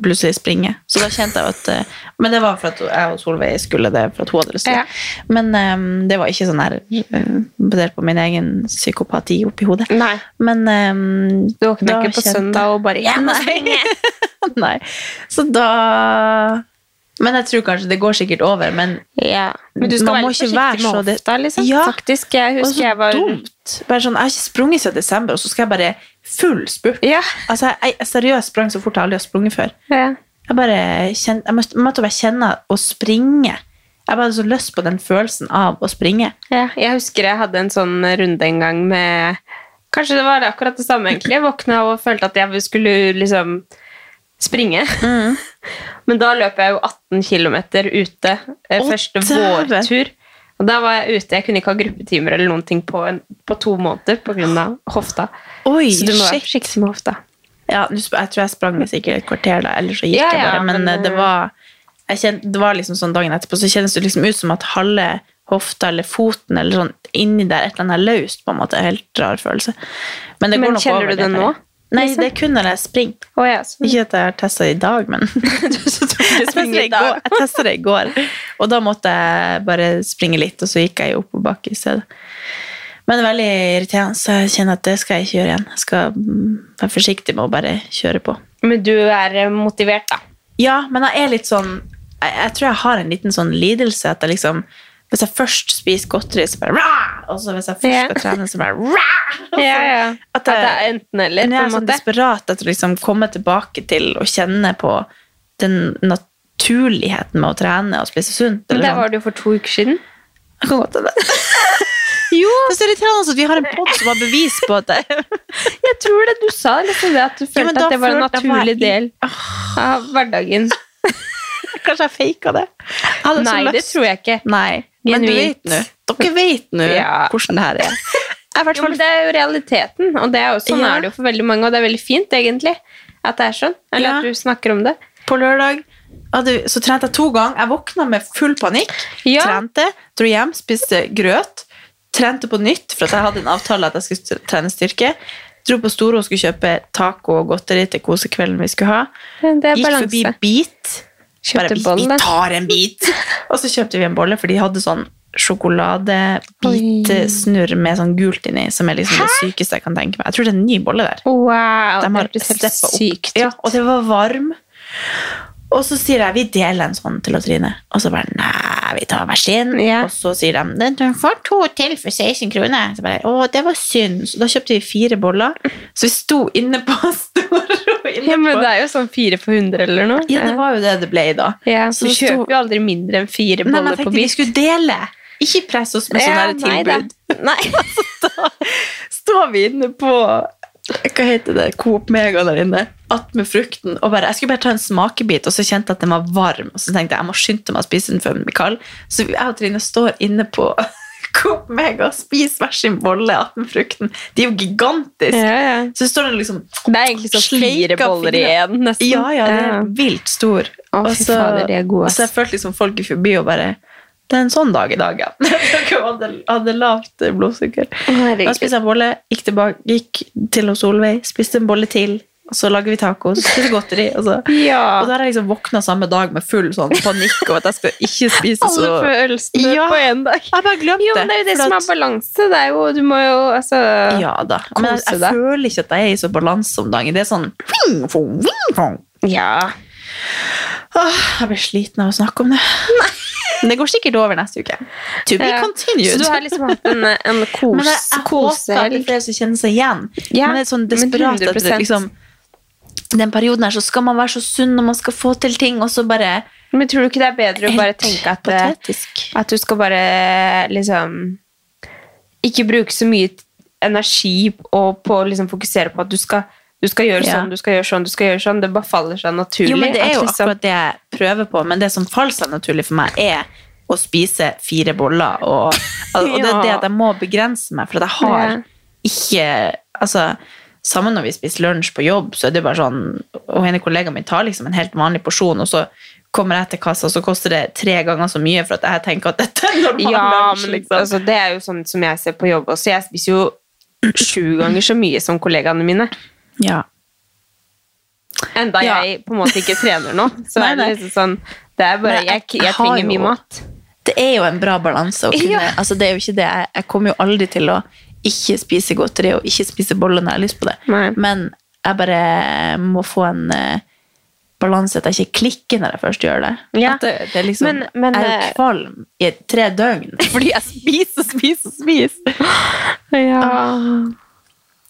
B: plutselig springe. Så da kjente jeg at eh, Men det var for at jeg og Solveig skulle det. for at hun hadde lyst til det.
A: Ja.
B: Men eh, det var ikke sånn her eh, basert på min egen psykopati oppi hodet.
A: Nei.
B: Men eh,
A: Du våkna
B: da
A: ikke på
B: kjente-
A: søndag og bare «Jeg må springe!»
B: Nei. Så da Men jeg tror kanskje det går sikkert over, men
A: Ja. Men du skal
B: Man
A: være
B: må ikke
A: litt forsiktig
B: være
A: med
B: så det-
A: hofta, liksom.
B: Ja.
A: Faktisk, jeg
B: Og så
A: husker jeg var
B: dumt. Bare sånn, jeg har ikke sprunget siden desember, og så skal jeg bare full spurt.
A: Ja.
B: Altså, jeg, jeg seriøst sprang så fort jeg aldri har sprunget før.
A: Ja.
B: Jeg bare kjen- jeg måtte, måtte bare kjenne å springe. Jeg bare hadde så lyst på den følelsen av å springe.
A: Ja, jeg husker jeg hadde en sånn runde en gang med Kanskje det var akkurat det samme, egentlig. Jeg våkna og følte at jeg skulle liksom springe.
B: Mm.
A: Men da løp jeg jo 18 km ute eh,
B: Å,
A: første
B: dæven!
A: vårtur. Og da var jeg ute. Jeg kunne ikke ha gruppetimer eller noen ting på, en, på to måneder pga. hofta.
B: Oi,
A: Så du må være
B: shit.
A: forsiktig med hofta.
B: Ja, nå sp- jeg tror jeg sprang sikkert et kvarter da, eller så gikk
A: Ja,
B: jeg
A: ja,
B: bare. Men,
A: men,
B: eh, det var, jeg kjente, det var liksom sånn dagen etterpå, så kjennes det liksom ut som at halve hofta eller foten eller sånn inni der, et eller annet er løst på en måte. Helt rar følelse. Men, det
A: Men
B: går nok
A: kjenner
B: over
A: du det
B: etter
A: nå,
B: Nei,
A: liksom?
B: det er kun når jeg springer.
A: Å ja, så
B: Ikke at jeg har testa det i dag, men jeg testa det i går. Jeg testet det i går. Og da måtte jeg bare springe litt, og så gikk jeg opp og bak i stedet. Men det er veldig irriterende, så jeg kjenner at det skal jeg ikke gjøre igjen. Jeg skal mm, være forsiktig med å bare kjøre på.
A: Men du er eh, motivert, da.
B: Ja, men jeg er litt sånn Jeg, jeg tror jeg har en liten sånn lidelse at jeg liksom Hvis jeg først spiser godteri, så bare "Rah!" Og så hvis jeg først
A: Ja.
B: skal trene, så bare "Rah!" Og så-
A: At det er
B: Men
A: enten-eller. på
B: jeg
A: en
B: er sånn
A: måte.
B: desperat etter å liksom komme tilbake til å kjenne på den naturligheten med å trene og spise sunt.
A: Men
B: Eller
A: der
B: sånn.
A: var du for to uker siden.
B: Jeg kan godt hende. Det er så irriterende at vi har en pod som har bevis på at det
A: Jeg tror det. Du sa liksom det at du følte
B: men da
A: at det var en
B: følte jeg bare
A: naturlig
B: i-
A: del av hverdagen.
B: Kanskje jeg faka det? Jeg hadde så
A: Nei, det
B: lyst.
A: tror jeg ikke.
B: Nei, men du
A: Genuint.
B: vet nå. Dere vet nå
A: Ja.
B: hvordan det her er. Jeg er i hvert
A: Jo, men
B: fall
A: det er jo realiteten, og det er jo, sånn
B: Ja.
A: er det jo for veldig mange. Og det er veldig fint, egentlig, at det er sånn. Eller
B: Ja.
A: at du snakker om det.
B: på lørdag. hadde- Så trente jeg to ganger. Jeg våkna med full panikk.
A: Ja.
B: Trente, dro hjem, spiste grøt. Trente på nytt, for at jeg hadde en avtale at jeg skulle trene styrke. Dro på Storo og skulle kjøpe taco og godteri til kosekvelden vi skulle ha.
A: Det er
B: Gikk forbi
A: balanse.
B: Beat. Bare,
A: Kjøpte
B: vi,
A: bolle.
B: vi tar en bit! og så kjøpte vi en bolle, for de hadde sånn sjokoladebitesnurr med sånn gult inni, som er liksom det sykeste jeg kan tenke meg. Jeg tror det er en ny bolle der.
A: Wow,
B: De har
A: det hørtes helt
B: steppa opp.
A: sykt ut.
B: Ja, og det var varm. Og så sier jeg vi deler en sånn til å Trine. Og så bare nei, vi tar hver sin.
A: Ja.
B: Og så sier de den tar- får to til for 16 kroner. Så bare, Å, det var synd. Så da kjøpte vi fire boller. Så vi sto inne på Storo. Inne
A: Ja, men
B: på-
A: det er jo sånn fire for hundre eller noe.
B: ja, det var jo det det ble da.
A: ja,
B: Så
A: Du
B: det sto-
A: kjøper jo aldri mindre enn fire
B: Nei, men jeg
A: boller på
B: tenkte vi
A: bil.
B: skulle dele. Ikke press oss med
A: Ja,
B: sånne her
A: nei da.
B: tilbud. står vi inne på hva heter det, Coop Mega der inne, attmed frukten, og bare, jeg skulle bare ta en smakebit, og så kjente jeg at den var varm, og så tenkte jeg, jeg må skynde meg å spise den før den blir kald, så jeg og Trine står inne på Coop Mega og spiser hver sin bolle attmed frukten. De er jo gigantiske.
A: Ja, ja.
B: Så står det liksom,
A: Det er egentlig sånn
B: Sleika
A: fire boller i
B: fingre.
A: én, nesten.
B: ja, ja, det er vilt stor.
A: Å, fy fader, de er gode,
B: og så jeg
A: ass.
B: følte liksom folk i forbi og bare, det er en sånn dag i dag, ja. Dere hadde, hadde lavt blodsukker. Da
A: Herregud.
B: spiste jeg en bolle, gikk, tilbake, gikk til hos Solveig, spiste en bolle til, og så lager vi taco, så spiser vi godteri. Og, så.
A: Ja.
B: og da har jeg liksom våkna samme dag med full sånn panikk over at jeg skal ikke spise så
A: Alle følelsene
B: Ja.
A: på én dag.
B: Jeg har bare glemt
A: Jo, men det er jo det
B: for
A: som
B: at-
A: er balanse. Det er jo, du må jo altså
B: Ja da. Men jeg,
A: Kose
B: jeg
A: deg.
B: føler ikke at jeg er i så balanse om dagen. Det er sånn wing, fong, wing, fong.
A: Ja.
B: Åh, Jeg blir sliten av å snakke om det. Men det går sikkert over neste uke. To be
A: Ja.
B: continued.
A: Så du har liksom hatt en, en kos,
B: Men jeg, jeg håper at det er
A: kosehelg.
B: flere som kjenner seg igjen.
A: Ja,
B: Men det er sånn
A: men
B: desperat at det
A: 100%.
B: liksom den perioden her så skal man være så sunn og man skal få til ting, og så bare
A: Men tror du ikke det er bedre å bare tenke at, eh,
B: patetisk.
A: at du skal bare liksom Ikke bruke så mye energi og på å liksom fokusere på at du skal du skal gjøre
B: Ja.
A: sånn, du skal gjøre sånn, du skal gjøre sånn. Det bare faller seg naturlig.
B: Jo, men det er
A: at
B: jo
A: liksom-
B: akkurat det jeg prøver på, men det som faller seg naturlig for meg, er å spise fire boller, og, og det er
A: Ja.
B: det at jeg må begrense meg, for at jeg har
A: Ja.
B: ikke Altså, sammen når vi spiser lunsj på jobb, så er det jo bare sånn Og en kollega min tar liksom en helt vanlig porsjon, og så kommer jeg til kassa, så koster det tre ganger så mye for at jeg tenker at dette er normal
A: Ja,
B: lunsj.
A: men
B: Liksom.
A: altså, det er jo sånn som jeg ser på jobb også. Jeg spiser jo sju ganger så mye som kollegaene mine.
B: ja.
A: Enda
B: Ja.
A: jeg på en måte ikke trener nå. Så
B: Nei,
A: er det
B: nei.
A: liksom sånn Det er bare
B: Men
A: Jeg,
B: jeg
A: jeg
B: har
A: trenger mye
B: jo-
A: mat.
B: Det er jo en bra balanse å kunne
A: Ja.
B: altså, Det er jo ikke det. Jeg, jeg kommer jo aldri til å ikke spise godteri og ikke spise boller når jeg har lyst på det.
A: Nei.
B: Men jeg bare må få en eh, balanse at jeg ikke klikker når jeg først gjør det.
A: Ja.
B: At det, det er liksom,
A: Men- men,
B: jeg er
A: eh,
B: jo kvalm i tre døgn fordi jeg spiser og spiser og spiser.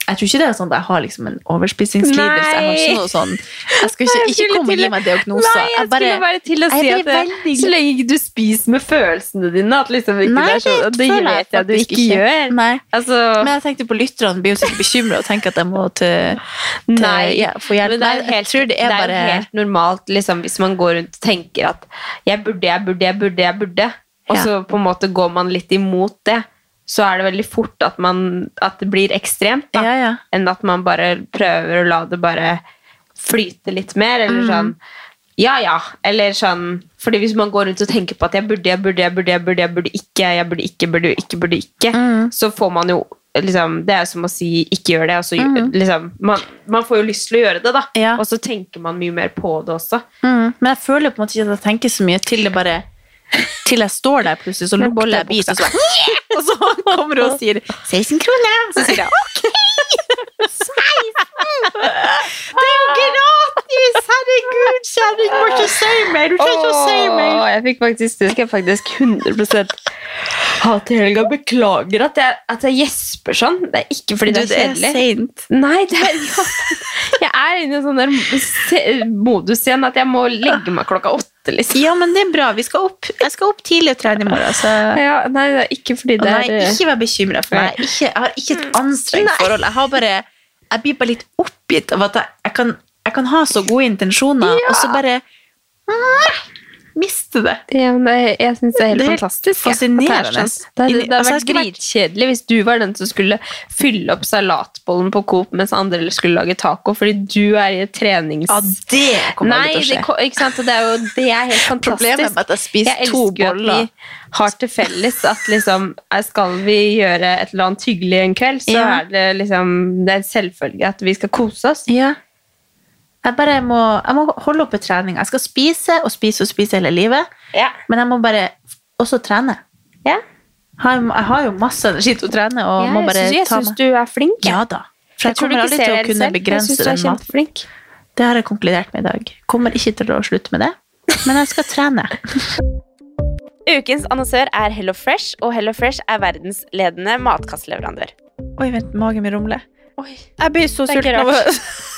B: Jeg tror ikke det er sånn at jeg har liksom en overspisingslidelse. Jeg har
A: Nei.
B: ikke noe sånn Jeg skal ikke,
A: Nei, jeg
B: ikke
A: skulle
B: komme og
A: til
B: gi
A: å-
B: meg diagnoser.
A: Nei, jeg, skulle bare til å
B: jeg
A: si
B: blir
A: at det,
B: veldig
A: så lenge ikke du spiser med følelsene dine at liksom ikke det, er sånn, at det
B: føler
A: vet jeg at du
B: faktisk
A: ikke, gjør.
B: Nei. Men
A: Altså,
B: jeg tenkte på lytterne blir jo sikkert bekymra og tenker at jeg må til, til
A: Nei,
B: ja, få hjelp.
A: men det er jo
B: Nei, jeg
A: helt,
B: tror det er
A: jo
B: bare
A: helt normalt liksom, hvis man går rundt og tenker at jeg burde, jeg burde, jeg burde, jeg burde. Og
B: Ja.
A: så på en måte går man litt imot det. Så er det veldig fort at, man, at det blir ekstremt. Da,
B: Ja, ja.
A: Enn at man bare prøver å la det bare flyte litt mer. Eller
B: Mm.
A: sånn ja, ja. Eller sånn Fordi hvis man går rundt og tenker på at jeg burde, jeg burde, jeg burde, jeg burde, jeg burde ikke, jeg burde ikke, burde ikke, burde ikke,
B: Mm.
A: så får man jo liksom, Det er jo som å si 'ikke gjør det', og så gjør- liksom man, man får jo lyst til å gjøre det, da.
B: Mm. Ja.
A: Og så tenker man mye mer på det også.
B: Mm. Men jeg føler på en måte ikke at jeg tenker så mye til det bare til jeg står der plutselig, så lukter jeg bit, og så, bare- og så kommer hun og sier 16 kroner. Så sier jeg ok! 16! Det er jo gratis! Herregud, kjerring, må ikke si mer! Du trenger ikke å si mer!
A: jeg fikk faktisk, Det skal jeg faktisk 100 ha til helga. Beklager at jeg, at jeg gjesper sånn. Det er ikke fordi det er kjedelig.
B: seint.
A: Nei, det er, ja. jeg er inne i en sånn der se- modus igjen at jeg må legge meg klokka åtte. liksom.
B: Ja, men det er bra. Vi skal opp. Jeg skal opp tidlig og trene i morgen. Så.
A: Ja, nei, det er ikke fordi
B: Og
A: det
B: nei,
A: er eh,
B: ikke vær bekymra for meg. Ikke, jeg har ikke et anstrengt forhold. Jeg, har bare, jeg blir bare litt oppgitt av at jeg, jeg, kan, jeg kan ha så gode intensjoner, og så bare mm, miste det.
A: eh, ja, men det- Jeg syns det er helt
B: Det er helt
A: fantastisk. ja, at
B: fascinerende.
A: Det, er sånn. det, hadde- det hadde
B: Altså, jeg
A: vært
B: skulle vært-
A: dritkjedelig hvis du var den som skulle fylle opp salatbollen på Coop mens andre skulle lage taco, fordi du er i et trenings...
B: det
A: Nei, det, ko- ikke sant? og det er jo det er helt fantastisk.
B: Problemet med at jeg spiser
A: elsker
B: to
A: jo
B: boller.
A: At vi har til felles at liksom, eh, skal vi gjøre et eller annet hyggelig en kveld, så
B: Ja.
A: er det liksom det er en selvfølge at vi skal kose oss.
B: Ja. Jeg bare må, jeg må holde oppe treninga. Jeg skal spise og spise og spise hele livet,
A: Ja.
B: men jeg må bare også trene.
A: Ja.
B: Har- Jeg har jo masse energi til å trene, og må bare
A: jeg
B: ta
A: syns
B: meg
A: du er flink.
B: Ja da. For jeg,
A: tror du
B: kommer
A: ikke
B: aldri til
A: ser
B: å
A: det
B: kunne
A: selv.
B: begrense den
A: Jeg syns du er
B: maten.
A: kjempeflink.
B: Det har jeg konkludert med i dag. Kommer ikke til å slutte med det, men jeg skal trene.
C: Ukens annonsør er Hello Fresh, og Hello Fresh er verdensledende matkastleverandør.
B: Oi, vent, magen min rumler.
C: Oi.
B: Jeg blir så
C: Det er ikke
B: sulten av å-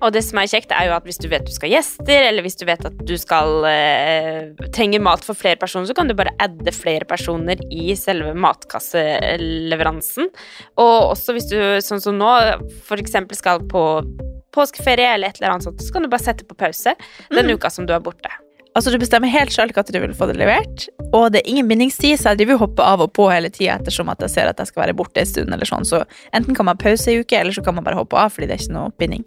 C: Og det som er kjekt, er jo at hvis du vet du skal ha gjester, eller hvis du vet at du skal eh, trenger mat for flere personer, så kan du bare adde flere personer i selve matkasseleveransen. Og også hvis du, sånn som nå, for eksempel skal på påskeferie eller et eller annet sånt, så kan du bare sette på pause den uka som du er borte.
B: Altså, du bestemmer helt selv hva du vil få det levert, og det er ingen bindingstid, så jeg driver og hopper av og på hele tida ettersom at jeg ser at jeg skal være borte en stund eller sånn, så enten kan man ha pause i uke, eller så kan man bare hoppe av fordi det er ikke noe binding.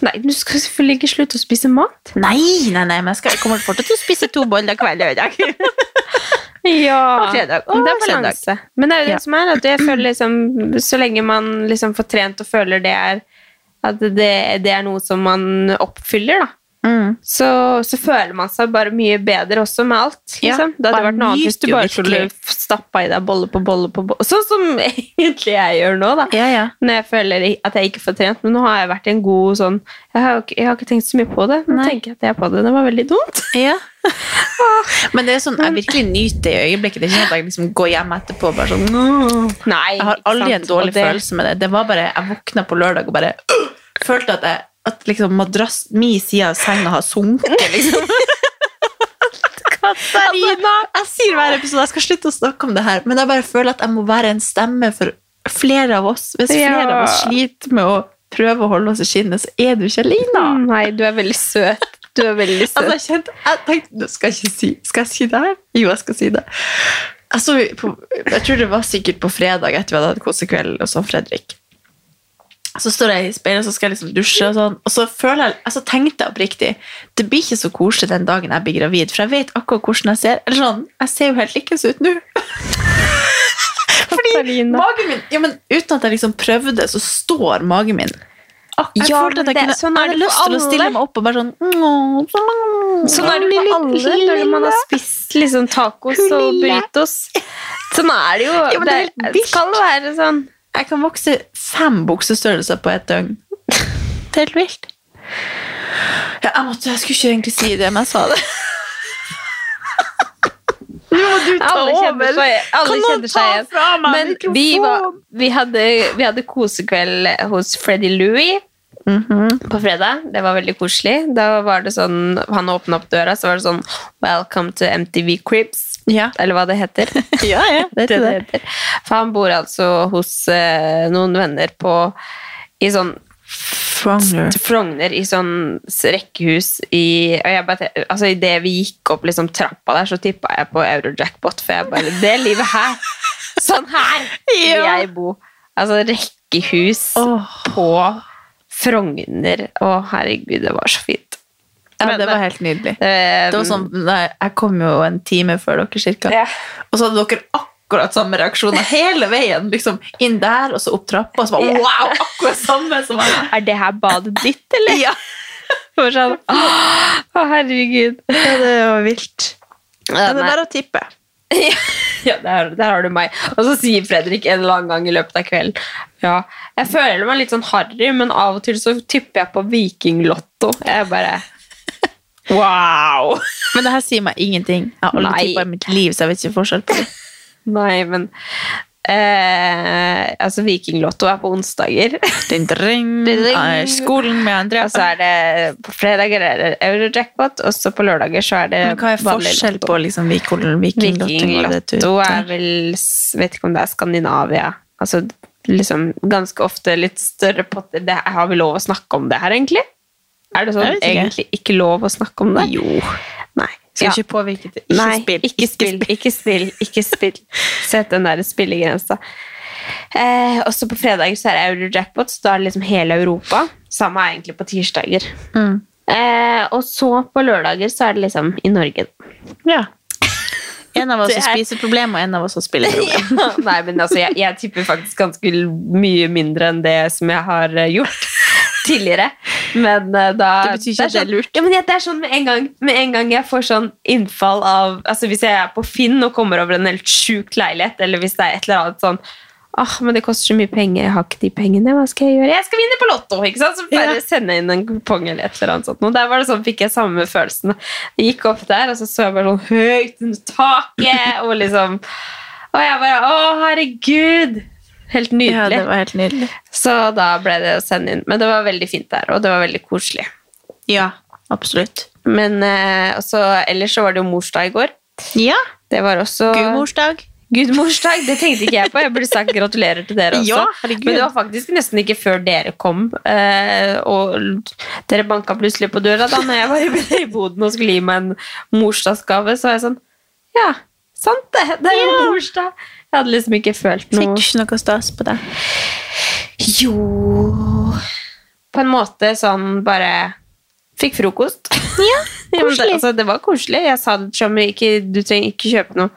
A: Nei, du skal selvfølgelig ikke slutte å spise mat.
B: Nei, nei, nei, men jeg, skal, jeg kommer fortsatt til å spise to boller hver lørdag.
A: Ja,
B: Og fredag, og
A: det er
B: søndag.
A: balanse. Men det er jo det
B: Ja.
A: som er, at jeg føler liksom, så lenge man liksom får trent og føler det er at det, det er noe som man oppfyller, da.
B: Mm.
A: Så, så føler man seg bare mye bedre også med alt.
B: Ja,
A: Liksom. det hadde
B: man
A: vært noe annet hvis du
B: nyter jo
A: bare skulle
B: virkelig.
A: stappa i deg bolle på bolle på bolle. Sånn som egentlig jeg gjør nå, da.
B: Ja, ja.
A: Når jeg føler at jeg ikke får trent. Men nå har jeg vært i en god sånn Jeg har, jo ikke- jeg har ikke tenkt så mye på det. Nå
B: Nei.
A: tenker jeg at jeg er på det. Det var veldig dumt.
B: Ja. Men det er sånn,
A: Mm.
B: jeg virkelig nyter det i øyeblikket. Det er ikke sånn at jeg liksom går hjem etterpå og bare sånn «Åh».
A: Nei,
B: Jeg har
A: ikke
B: aldri
A: sant?
B: en dårlig
A: Og det-
B: følelse med det. Det var bare, Jeg våkna på lørdag og bare «Åh!» følte at, jeg, at liksom madrass, min side av senga har sunket. liksom. Katarina! Jeg sier hver episode jeg skal slutte å snakke om det her, men jeg bare føler at jeg må være en stemme for flere av oss. Hvis flere
A: Ja.
B: av oss sliter med å prøve å holde oss i skinnet, så er du ikke alene.
A: Mm, Nei, du er veldig søt. Du er veldig søt.
B: Altså, jeg kjente, jeg tenkte, nå skal jeg ikke si Skal jeg si det her? Jo, jeg skal si det. Jeg, så på, jeg tror det var sikkert på fredag etter vi hadde hatt kosekveld hos han Fredrik. Så står jeg i speilet, så skal jeg liksom dusje, og sånn. Og så føler jeg, altså tenkte jeg oppriktig Det blir ikke så koselig den dagen jeg blir gravid, for jeg vet akkurat hvordan jeg ser. Eller sånn, Jeg ser jo helt likens ut nå. Fordi
A: Katarina.
B: magen min ja, men Uten at jeg liksom prøvde, så står magen min. Ak- Jeg
A: Ja,
B: følte at jeg
A: men det-
B: kunne
A: sånn er
B: jeg hadde
A: det for
B: lyst til å
A: alle.
B: stille meg opp og bare sånn «Åh, sånn,
A: Sånn er det jo på alle når man har spist liksom, tacos og burritos. Sånn er det jo.
B: Ja, men
A: det,
B: det er helt
A: er,
B: vilt.
A: skal være sånn.
B: Jeg kan vokse fem buksestørrelser på et døgn. Det er helt vilt. Ja, jeg, måtte, jeg skulle ikke egentlig si det, men jeg sa det. Nå må du
A: Alle kjenner seg, alle
B: Kan noen
A: kjenner seg
B: ta
A: igjen.
B: fra meg
A: Men
B: mikrofonen?
A: vi, var, vi, hadde, vi hadde kosekveld hos Freddy Louie på fredag. Det var veldig koselig. Da var det sånn, Han åpna opp døra, så var det sånn Welcome to MTV Cribs.
B: Ja.
A: Eller hva det heter.
B: Ja, ja,
A: Det er det det heter. For han bor altså hos eh, noen venner på i sånn
B: Frogner.
A: til Frogner, i sånn s- rekkehus i og jeg bare, te- altså Idet vi gikk opp liksom, trappa der, så tippa jeg på Eurojackpot, for jeg bare Det livet her! Sånn her vil
B: Ja.
A: jeg bo! Altså rekkehus
B: Åh.
A: på Frogner. Å, herregud, det var så fint.
B: Ja, det
A: Men-
B: var helt nydelig.
A: Eh,
B: Det var sånn, nei, jeg kom jo en time før dere cirka.
A: Ja.
B: Og så hadde dere akkurat samme reaksjoner hele veien. Liksom inn der, og så opp trappa, og så
A: Ja.
B: bare wow! Akkurat samme som meg.
A: Eh, Er det her badet ditt, eller?
B: Ja.
A: Det var sånn, Å, herregud.
B: Ja, det var vilt.
A: Ja,
B: det
A: nei.
B: er bare å tippe.
A: ja, der, der har du meg. Og så sier Fredrik en eller annen gang i løpet av kvelden Ja, jeg føler meg litt sånn harry, men av og til så tipper jeg på vikinglotto. Jeg bare Wow!
B: Men det her sier meg ingenting. Jeg har aldri
A: Nei.
B: tippa i mitt liv, så jeg vet ikke forskjell på det.
A: Nei, men eh, Altså, vikinglotto er på onsdager.
B: Ding, ding.
A: Ding.
B: Nei, Skolen med Andrea.
A: Og så er det på fredager er det Eurojackpot, og så på lørdager så er det
B: Men hva er
A: vanlig
B: forskjell
A: lotto.
B: på liksom, vikinglotto
A: Vikinglotto er vel s- Vet ikke om det er Skandinavia. Altså liksom ganske ofte litt større potter. Det, har vi lov å snakke om det her, egentlig? Er det sånn
B: Jeg vet ikke.
A: egentlig ikke lov å snakke om det?
B: Jo.
A: Nei.
B: Skal
A: Ja.
B: ikke påvirke det. Ikke
A: Nei,
B: spill.
A: Ikke spill, ikke spill, ikke spill. Sett den der spillegrensa. Eh, også på fredager så er det Eurojackpot, så da er det liksom hele Europa. Samme er egentlig på tirsdager.
B: Mm.
A: Eh, og så på lørdager så er det liksom i Norge.
B: Ja. En av oss
A: Det
B: som
A: er-
B: spiser problem, og en av oss som spiller problem.
A: Nei, men altså, jeg, jeg tipper faktisk ganske l- mye mindre enn det som jeg har eh, gjort tidligere. Men eh, da
B: Det betyr ikke at det er
A: sånn- Ja, men jeg- det er sånn med en, gang, med en gang jeg får sånn innfall av Altså Hvis jeg er på Finn og kommer over en helt sjuk leilighet, eller hvis det er et eller annet sånn Ah, men det koster så mye penger. Jeg har ikke de pengene. Hva skal jeg gjøre? Jeg skal vinne på Lotto! ikke sant? Så bare
B: Ja.
A: sende inn en kupong eller et eller annet sånt. Og der var det sånn, fikk jeg samme følelsen. Jeg gikk opp der, og så så jeg bare sånn høyt under taket, og liksom Og jeg bare Å, herregud! Helt
B: Ja,
A: nydelig.
B: det var helt nydelig.
A: Så da ble det å sende inn. Men det var veldig fint der, og det var veldig koselig.
B: Ja, absolutt.
A: Men eh, også, ellers så var det jo morsdag i går.
B: Ja,
A: Det var også
B: gudmorsdag.
A: Gudmorsdag, det tenkte ikke jeg på. Jeg burde sagt gratulerer til dere også.
B: Ja, herregud.
A: Men det var faktisk nesten ikke før dere kom. eh, og dere banka plutselig på døra da når jeg var i boden og skulle gi meg en morsdagsgave. Så var jeg sånn Ja, sant det! Det er jo morsdag. Jeg hadde liksom ikke følt
B: Fikk du
A: noe
B: ikke noe stas på det?
A: Jo på en måte sånn bare Fikk frokost. Ja, men det, altså, det var koselig. Jeg sa det til Tommy, ikke, du trenger ikke kjøpe noe.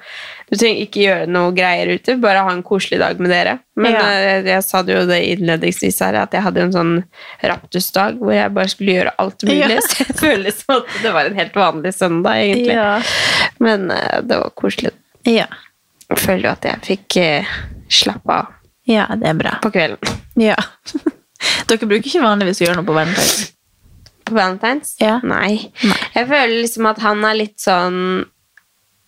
A: Du trenger ikke gjøre noe greier ute, bare ha en koselig dag med dere. Men
B: Ja.
A: eh, jeg, jeg sa det jo det innledningsvis her, at jeg hadde jo en sånn raptusdag hvor jeg bare skulle gjøre alt mulig.
B: Ja.
A: Så jeg føler som at det var en helt vanlig søndag, egentlig.
B: Ja.
A: Men eh, det var koselig.
B: Ja.
A: Jeg føler jo at jeg fikk eh, slappe av
B: ja, det er bra.
A: på kvelden.
B: Ja. Dere bruker ikke vanligvis å gjøre noe på valentines.
A: På Valentine's?
B: Ja.
A: Nei.
B: Nei.
A: Jeg føler liksom at han er litt sånn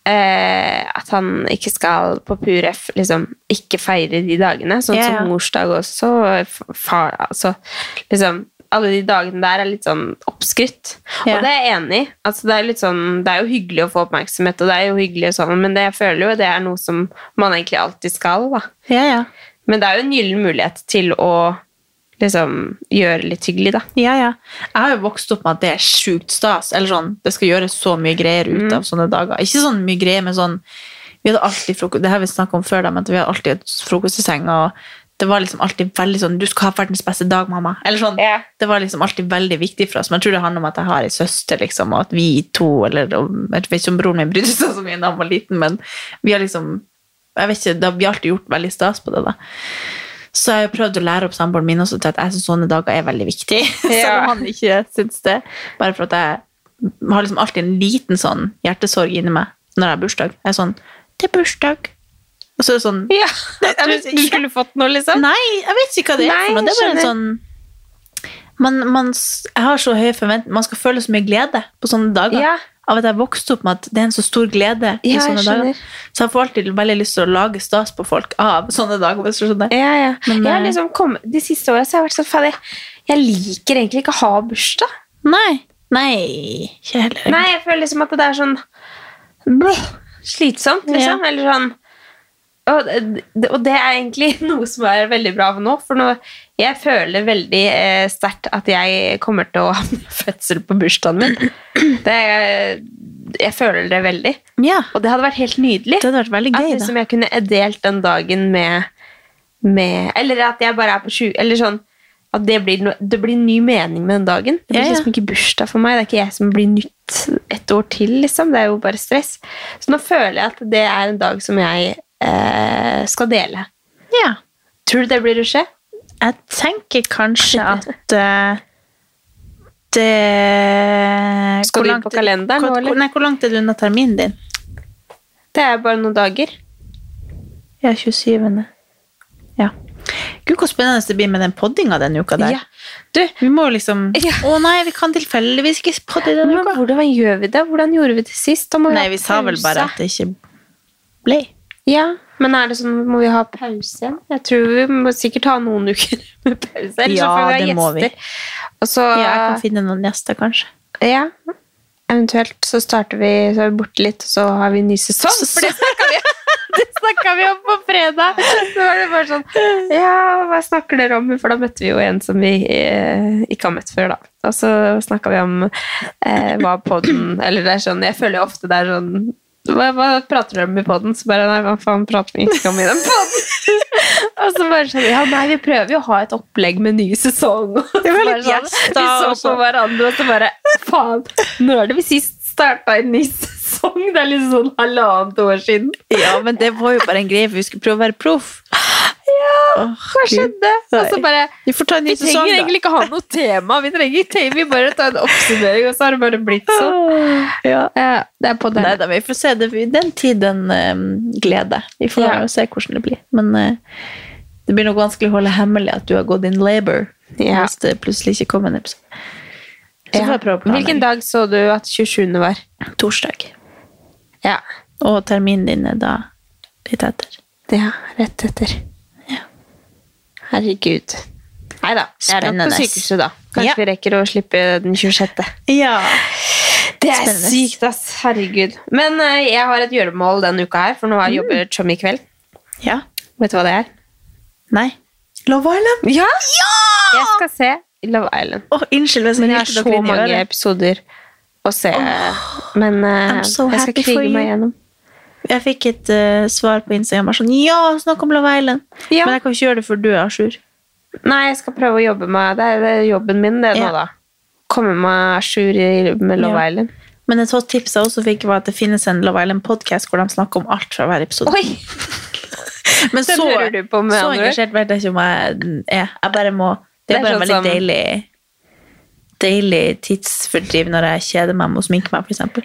A: eh, At han ikke skal på Puref liksom ikke feire de dagene. Sånn
B: Ja, ja.
A: som morsdag også. f- Far, altså, liksom, alle de dagene der er litt sånn oppskrytt.
B: Ja.
A: Og det er jeg enig i. Altså, det, er litt sånn, det er jo hyggelig å få oppmerksomhet, og det er jo hyggelig og sånn, men det, jeg føler jo det er noe som man egentlig alltid skal. da.
B: Ja, ja.
A: Men det er jo en gyllen mulighet til å liksom gjøre litt hyggelig, da.
B: Ja, ja. Jeg har jo vokst opp med at det er sjukt stas. Eller sånn, Det skal gjøres så mye greier ut av sånne dager. Ikke sånn mye greier, men sånn Vi hadde alltid frokost Det har vi snakket om før, da, men at vi hadde alltid et frokost i senga. og det var liksom alltid veldig sånn Du skal ha verdens beste dag, mamma. Eller sånn,
A: Ja.
B: Det var liksom alltid veldig viktig for oss. Men jeg tror det handler om at jeg har ei søster, liksom, og at vi to eller om- Jeg vet ikke om broren min brydde seg så mye da han var liten, men vi har liksom jeg vet ikke, da, Vi har alltid gjort veldig stas på det. da. Så jeg har prøvd å lære opp samboeren min også til at jeg synes sånne dager er veldig viktig. Selv om han ikke syns det. Bare for at jeg har liksom alltid en liten sånn hjertesorg inni meg når jeg har bursdag. Jeg er sånn Det er bursdag. Og så er det sånn
A: Ja,
B: jeg vet
A: du, du
B: ikke.
A: skulle fått noe, liksom.
B: Nei, jeg vet ikke hva det er
A: Nei,
B: for noe. Det er bare en
A: skjønner.
B: sånn man, man, s- Jeg har så høye forventninger. Man skal føle så mye glede på sånne dager.
A: Ja.
B: Av at jeg vokste opp med at det er en så stor glede i
A: Ja, jeg
B: sånne
A: skjønner.
B: dager. Så jeg får alltid veldig lyst til å lage stas på folk av sånne dager. hvis du skjønner.
A: Ja, ja.
B: Men,
A: jeg har
B: eh,
A: liksom kommet, de siste årene så har jeg vært sånn fader, jeg, jeg liker egentlig ikke å ha bursdag.
B: Nei. Nei, ikke heller.
A: Nei, jeg føler liksom at det er sånn bleh, slitsomt, liksom. Eller sånn og, det- og det er egentlig noe som er veldig bra for nå, for nå jeg føler veldig eh, sterkt at jeg kommer til å ha fødsel på bursdagen min. Det, er- jeg føler det veldig.
B: Ja,
A: Og det hadde vært helt nydelig.
B: det hadde vært veldig
A: At
B: gøy,
A: liksom
B: da.
A: jeg kunne delt den dagen med, med Eller at jeg bare er på sju Eller sånn at det blir, no, det blir ny mening med den dagen. Det blir
B: Ja, ja.
A: liksom ikke bursdag for meg. Det er ikke jeg som blir nytt et år til. liksom. Det er jo bare stress. Så nå føler jeg at det er en dag som jeg eh, skal dele.
B: Ja.
A: Tror du det blir å skje?
B: Jeg tenker kanskje at eh, det
A: Skal
B: Hvor
A: du inn
B: langt-
A: på kalenderen nå,
B: hvor,
A: eller?
B: Nei, hvor langt er det unna terminen din?
A: Det er bare noen dager.
B: Ja, 27. Ja. Gud, hvor spennende det blir med den poddinga denne uka der.
A: Ja. Du,
B: Vi må jo liksom
A: Ja.
B: Å nei, vi kan tilfeldigvis ikke podde denne
A: men
B: uka.
A: hvordan gjør vi det? Hvordan gjorde vi det sist? Da må
B: Nei,
A: ha
B: vi sa vel
A: pause.
B: bare at det ikke ble.
A: Ja, men er det sånn, må vi ha pause igjen? Jeg tror vi må sikkert ha noen uker med pause. Eller
B: Ja,
A: så får vi ha
B: det må vi.
A: gjester. Og så,
B: Ja, jeg
A: ja,
B: kan finne noen gjester, kanskje.
A: eventuelt så starter vi, så er vi borte litt, og så har vi en ny sesong.
B: Så-
A: Sånn, For det snakket vi, det snakket vi om på fredag. Så var det bare sånn, ja, hva snakker dere om? For da møtte vi jo en som vi eh, ikke har møtt før da. Og så snakket vi om eh, hva podden, eller det er sånn, jeg føler jo ofte det er sånn, hva, hva prater dere om i podden? Så bare, nei, hva faen prater vi ikke om i den podden? Og så bare sånn, ja nei, vi prøver jo å ha et opplegg med ny sesong. Og så bare sånn,
B: litt gjest da,
A: vi
B: og
A: så
B: så-
A: på hverandre, og så bare, faen, når er det vi sist startet en ny sesong? Det er liksom sånn halvannet år siden.
B: Ja, men det var jo bare en greie, for vi skulle prøve å være proff.
A: Ja,
B: Åh,
A: hva
B: Gud.
A: skjedde? Og så bare,
B: Vi får ta en ny
A: vi
B: sesong,
A: trenger
B: da.
A: egentlig ikke ha noe tema, vi trenger te- vi bare ta en oppsummering, og så har det bare blitt sånn.
B: Ja.
A: Ja, det er på den.
B: Nei da, vi får se. Det, den tid, den um, glede. Vi får
A: Ja.
B: jo se hvordan det blir. Men eh, det blir nok vanskelig å holde hemmelig at du har gått in labor.
A: Ja.
B: Hvis det plutselig ikke kommer en episode. Så får jeg prøve å
A: Ja. Hvilken dag så du at 27. var?
B: Torsdag.
A: Ja,
B: Og terminen din er da litt etter.
A: det er rett etter. Herregud. Neida, jeg er nok på
B: Spennende.
A: sykehuset da. Kanskje
B: Ja.
A: vi rekker å slippe den 26.
B: Ja.
A: Det er
B: Spennende.
A: sykt, ass. Herregud. Men eh, jeg har et gjøremål denne uka her, for nå har jeg jobbet som i kveld.
B: Ja.
A: Vet du hva det er?
B: Nei. Love Island?
A: Ja! Jeg skal se Love Island.
B: Åh, unnskyld hvis
A: Men
B: jeg
A: jeg har
B: hylte
A: så
B: dere inn i
A: mange
B: øret.
A: episoder å se. Men eh,
B: I'm so
A: jeg skal
B: happy for
A: krige meg
B: you.
A: gjennom.
B: Jeg fikk et eh, svar på Instagram. bare Sånn, ja, snakk om Love Island.
A: Ja.
B: Men jeg kan ikke gjøre det før du er a jour.
A: Nei, jeg skal prøve å jobbe med Det er det jobben min, det nå,
B: Ja.
A: da. Komme meg à jour i- med Love
B: Ja.
A: Island.
B: Men et hot tips jeg også fikk, var at det finnes en Love Island-podkast hvor de snakker om alt fra hver episode.
A: Oi!
B: Men så,
A: Den hører du på med
B: så
A: andre ord.
B: engasjert vet jeg ikke om jeg er. Jeg bare må, det
A: Det er
B: er bare en
A: sånn
B: veldig
A: som-
B: deilig, deilig tidsfordriv når jeg kjeder meg med å sminke meg, for eksempel.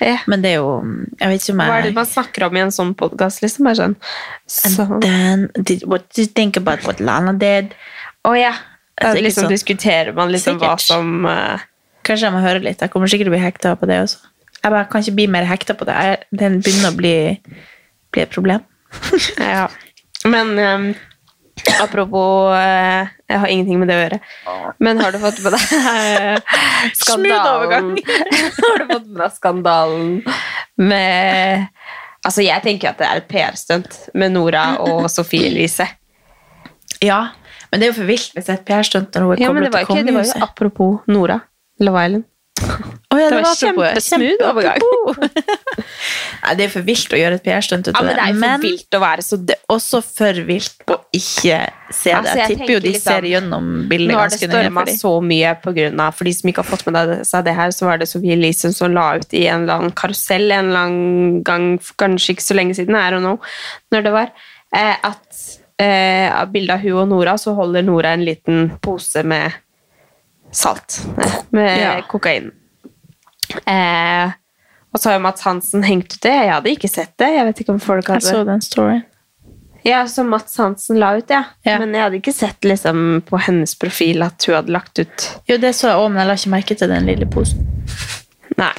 A: Ja.
B: Men det er jo Jeg vet ikke om
A: Hva er det
B: jeg
A: man snakker om i en sånn podkast? Liksom? Er sånn. Så,
B: And then, did, what do you think about what Lana did?
A: Å ja. Da
B: Altså, ikke
A: liksom
B: sånn.
A: diskuterer man liksom hva
B: Sikkert.
A: som eh,
B: Kanskje jeg må høre litt. Jeg kommer sikkert til å bli hekta på det også. Jeg bare kan ikke bli mer hekta på det. Jeg, den begynner å bli, bli et problem.
A: Ja. Men ehm, apropos eh, Jeg har ingenting med det å gjøre. Men har du fått med deg eh, skandalen
B: Smooth
A: Har du fått med deg skandalen med Altså, jeg tenker at det er et PR-stunt med Nora og Sofie Elise.
B: Ja, men det er jo for vilt hvis det er et PR-stunt når hun
A: Ja,
B: kommer
A: men det
B: til
A: var, ikke, det var jo
B: kongehuset.
A: apropos Nora. Love Island.
B: Å ja, det
A: Det var
B: var apropos.
A: kjempesmooth overgang.
B: Kjempeapropos. Nei, det er for vilt å gjøre et PR-stunt ut
A: Ja,
B: av
A: men det er jo for vilt å være så
B: det er også for vilt å ikke se det.
A: Altså, jeg
B: jeg tipper jo
A: tenker
B: de
A: liksom,
B: ser gjennom bildet
A: Nå har det
B: ganske nøye.
A: storma
B: fordi-
A: så mye på grunn av For de som ikke har fått med deg- seg det her, så var det Sofie Elise som la ut i en eller annen karusell en eller annen gang, for kanskje ikke så lenge siden, I don't know, når det var, eh, at eh, av bildet av hun og Nora, så holder Nora en liten pose med salt. eh, Med
B: Ja.
A: kokain. Eh, og så har jo Mats Hansen hengt ut det. Jeg hadde ikke sett det. Jeg vet ikke om folk
B: Jeg
A: hadde
B: så den storyen.
A: ja, som Mats Hansen la ut, ja.
B: Ja.
A: Men jeg hadde ikke sett liksom, på hennes profil at hun hadde lagt ut
B: Jo, det så jeg òg, men jeg la ikke merke til den lille posen.
A: Nei.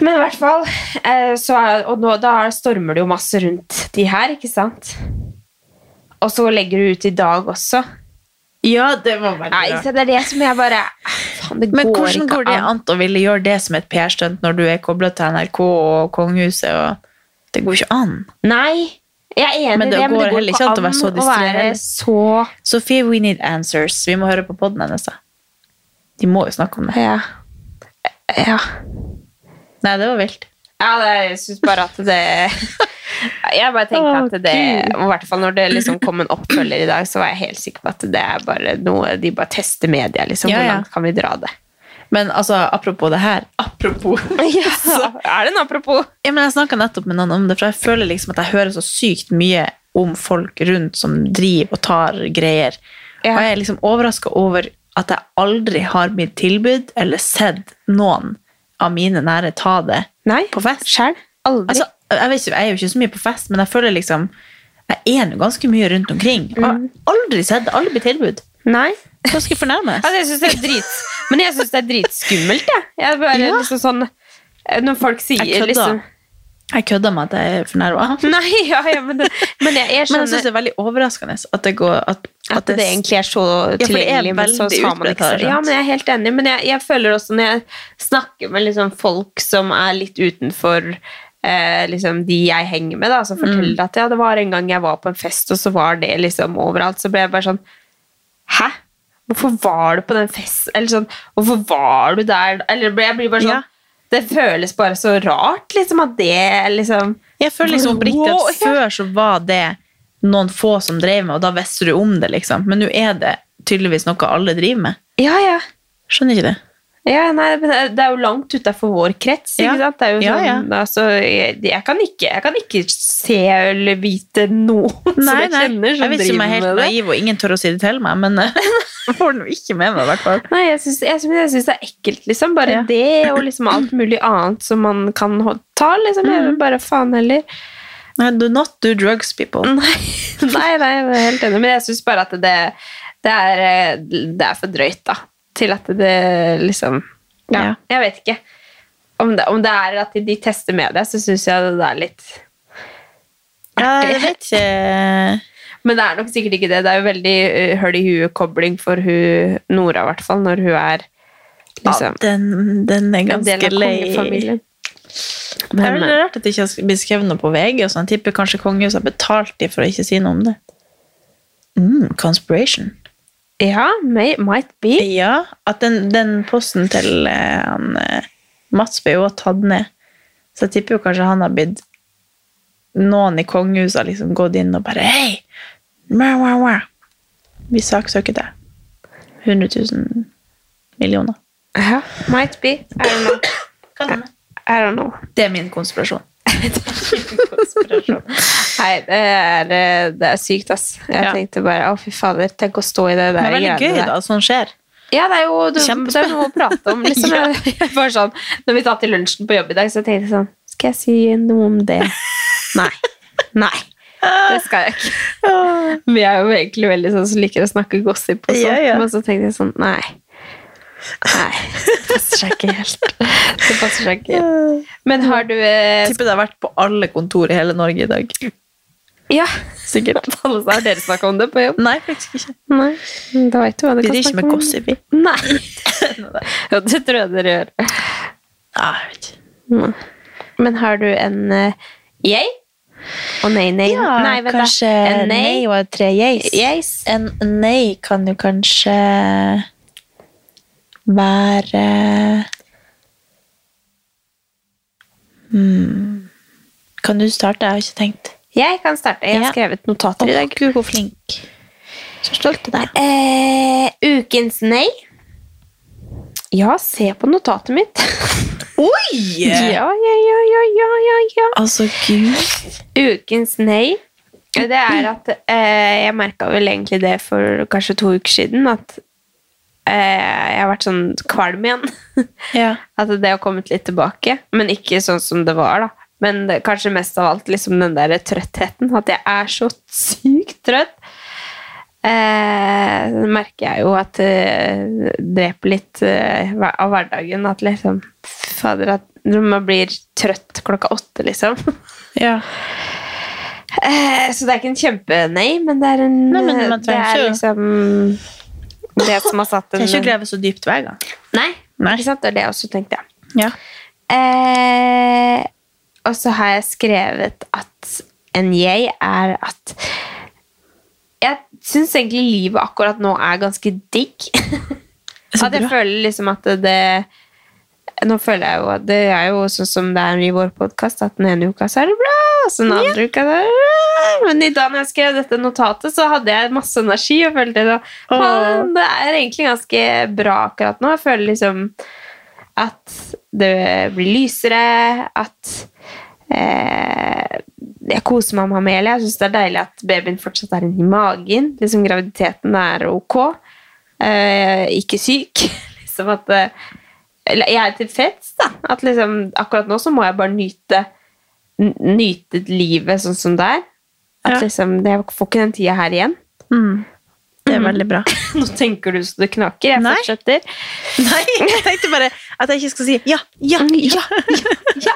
A: Men i hvert fall, eh, så er, og nå, da er- stormer det jo masse rundt de her, ikke sant? Og så legger du ut i dag også.
B: Ja, det var veldig
A: Nei,
B: bra.
A: så det er det som jeg bare Faen, det
B: Men
A: går
B: hvordan
A: ikke
B: går det
A: an.
B: an å ville gjøre det som et PR-stunt når du er kobla til NRK og kongehuset? og Det går jo ikke an.
A: Nei, jeg er enig
B: Men
A: i
B: det
A: det, men
B: går
A: det går
B: heller ikke
A: ikke
B: an
A: an
B: å være så
A: å
B: distrahert.
A: være så
B: Sofie, we need answers. Vi må høre på poden hennes. da. De må jo snakke om det.
A: Ja. ja.
B: Nei, det var vilt.
A: Ja, det, jeg syns bare at det Jeg bare tenkte
B: Å,
A: at det og I hvert fall når det liksom kom en oppfølger i dag, så var jeg helt sikker på at det er bare noe de bare tester media, liksom.
B: Ja, ja.
A: Hvor langt kan vi dra det?
B: Men altså, apropos det her Apropos!
A: Ja, er det en apropos?
B: Ja, men jeg snakka nettopp med noen om det, for jeg føler liksom at jeg hører så sykt mye om folk rundt som driver og tar greier.
A: Ja.
B: Og jeg er liksom overraska over at jeg aldri har blitt tilbud eller sett noen av mine nære ta det
A: Nei.
B: på fest.
A: Sjæl? Aldri.
B: Altså, jeg, vet ikke, jeg er jo ikke så mye på fest, men jeg føler liksom Jeg er nå ganske mye rundt omkring. Og jeg
A: Mm.
B: har aldri sett det. Aldri blitt tilbud.
A: Nei.
B: Hva skal jeg fornærmes?
A: Altså, jeg synes det er drit, men jeg syns det er dritskummelt, jeg. jeg er bare
B: Ja.
A: liksom sånn Når folk sier
B: Jeg kødda.
A: liksom
B: Jeg kødder med at jeg er fornærma.
A: Nei, ja, ja, men, det, men jeg, jeg
B: Men jeg syns
A: skjønner
B: det er veldig overraskende at det går At,
A: sånn, at, det, egentlig er så
B: det er
A: tilgjengelig, men så
B: veldig
A: sa man
B: utbredt
A: ikke
B: her,
A: så-
B: sant?
A: Ja, men jeg er helt enig, men jeg, jeg føler også når jeg snakker med liksom folk som er litt utenfor eh, liksom de jeg henger med, da, som forteller at ja, det var en gang jeg var på en fest, og så var det liksom overalt, så ble jeg bare sånn Hæ? Hvorfor var du på den festen? Eller sånn, hvorfor var du der? Eller jeg blir bare sånn
B: Ja.
A: Det føles bare så rart, liksom, at det liksom
B: Jeg føler liksom oppriktig
A: Wow,
B: at
A: ja.
B: før så var det noen få som drev med, og da visste du om det, liksom. Men nå er det tydeligvis noe alle driver med.
A: Ja, ja.
B: Skjønner ikke det.
A: Ja, nei, men eh, det- det er jo langt utafor vår krets.
B: Ja.
A: ikke sant? Det er jo
B: Ja,
A: sånn, Altså, jeg, jeg, kan ikke, jeg kan ikke se eller vite noen som jeg kjenner som
B: Jeg vet ikke om jeg
A: driver
B: er
A: med
B: helt
A: det.
B: naiv, og ingen tør å si det til meg, men jeg får den jo ikke med meg, i hvert fall.
A: Nei, jeg syns, jeg, syns- jeg syns det er ekkelt, liksom. Bare
B: Ja.
A: det og liksom alt mulig annet som man kan hå- ta, liksom. Jeg
B: Mm.
A: vil bare faen heller.
B: Nei, do not do drugs, people.
A: Nei, nei, nei, jeg er helt enig. Men jeg syns bare at det, det, er, eh, det er for drøyt, da. Til at det liksom Ja,
B: Ja.
A: jeg vet ikke. Om det, om det er at de tester media, så syns jeg det er litt
B: Ja, jeg vet ikke eh,
A: Men det er nok sikkert ikke det. Det er jo veldig eh, høl i huet-kobling for hun Nora, i hvert fall, når hun er liksom
B: den, den er
A: en del
B: ganske
A: av
B: lei. eh,
A: kongefamilien.
B: Det er
A: Men, eh,
B: veldig rart at det ikke har blitt skrevet noe på VG. og sånn. Jeg tipper kanskje kongehuset har betalt dem for å ikke si noe om det. Mm, conspiration.
A: Ja, may, might be.
B: Ja, at den, den posten til eh, han, eh, Mats ble jo også tatt ned. Så jeg tipper jo kanskje han har blitt Noen i kongehuset har liksom gått inn og bare Hei! Mwah, mwah, mwah. Vi saksøker det. 100 000 millioner.
A: Ja, might be. I don't know. I don't know.
B: Det er min konspirasjon.
A: Nei, det er, eh, det er sykt, ass. Jeg
B: Ja.
A: tenkte bare, å fy fader, tenk å stå i det
B: Det
A: der.
B: er veldig
A: greiene
B: gøy
A: der.
B: da, at sånt skjer.
A: Ja, det er jo det,
B: Kjempe.
A: det er noe å prate om. Liksom.
B: Ja.
A: Jeg var sånn, når vi satt i lunsjen på jobb i dag, så tenkte jeg sånn Skal jeg si noe om det? Nei. Nei. Det skal jeg ikke. Vi er jo egentlig veldig sånn som liker å snakke gossip og sånn,
B: Ja, ja.
A: men så tenkte jeg sånn Nei. Nei. Det passer seg ikke helt. Det passer seg ikke helt. Men har du eh,
B: Jeg tipper det har vært på alle kontor i hele Norge i dag.
A: Ja.
B: Sikkert.
A: Alle sa, Har dere snakka om det på jobb?
B: Nei, faktisk ikke.
A: Nei. Da vet du hva du
B: Vi
A: kan
B: driver ikke
A: snakke
B: med
A: om.
B: gossip, vi.
A: Nei. Ja, det tror jeg dere gjør.
B: Ah, jeg vet ikke.
A: Mm. Men har du en eh, yay? Og nei, nei.
B: Ja,
A: nei, vent da.
B: kanskje
A: En nei.
B: og tre yeis.
A: Yes.
B: En nei kan jo kanskje være hmm. Kan du starte? Jeg har ikke tenkt.
A: Jeg kan starte. Jeg
B: Ja.
A: har skrevet notater i dag.
B: Gud, hvor flink. Så stolt av deg.
A: Eh, ukens nei. Ja, se på notatet mitt.
B: Oi!
A: Ja, ja, ja, ja, ja, ja, ja.
B: Altså, gud.
A: Ukens nei. Det er at eh, jeg merka vel egentlig det for kanskje to uker siden, at eh, jeg har vært sånn kvalm igjen.
B: Ja.
A: At det har kommet litt tilbake, men ikke sånn som det var, da. Men det, kanskje mest av alt liksom den der trøttheten. At jeg er så sykt trøtt. Eh, det merker jeg jo at eh, det dreper litt eh, hver- av hverdagen. At liksom Fader, at man blir trøtt klokka åtte, liksom.
B: ja.
A: Eh, så det er ikke en kjempe-nei, men det er en
B: Nei, men man
A: Det
B: trenger
A: er
B: ikke å-
A: liksom det som har satt en
B: Trenger ikke å grave så dypt hver gang.
A: Nei,
B: Nei.
A: ikke sant? Det er det jeg også tenkte, ja.
B: Ja.
A: Eh, og så har jeg skrevet at en jeg er at Jeg syns egentlig livet akkurat nå er ganske digg.
B: Så
A: at jeg
B: bra.
A: føler liksom at det Nå føler jeg jo at det er jo sånn som det er i vår podkast, at den ene uka så er det bra, og så den andre uka så er det bra. Men i dag når jeg skrev dette notatet, så hadde jeg masse energi og følte det, faen, det er egentlig ganske bra akkurat nå. Jeg føler liksom at det blir lysere, at eh, jeg koser meg med Amelia. Jeg syns det er deilig at babyen fortsatt er inni magen. Liksom Graviditeten er ok. Eh, ikke syk. liksom at eh, Eller jeg er tilfreds, da. At liksom, akkurat nå så må jeg bare nyte n- Nyte livet sånn som det er. At
B: Ja.
A: liksom, det- Jeg får ikke den tida her igjen.
B: Mm. Det er veldig bra.
A: Nå tenker du så det knaker. Jeg
B: Nei.
A: fortsetter.
B: Nei, jeg tenkte bare at jeg ikke skal si ja, ja, Mm, ja.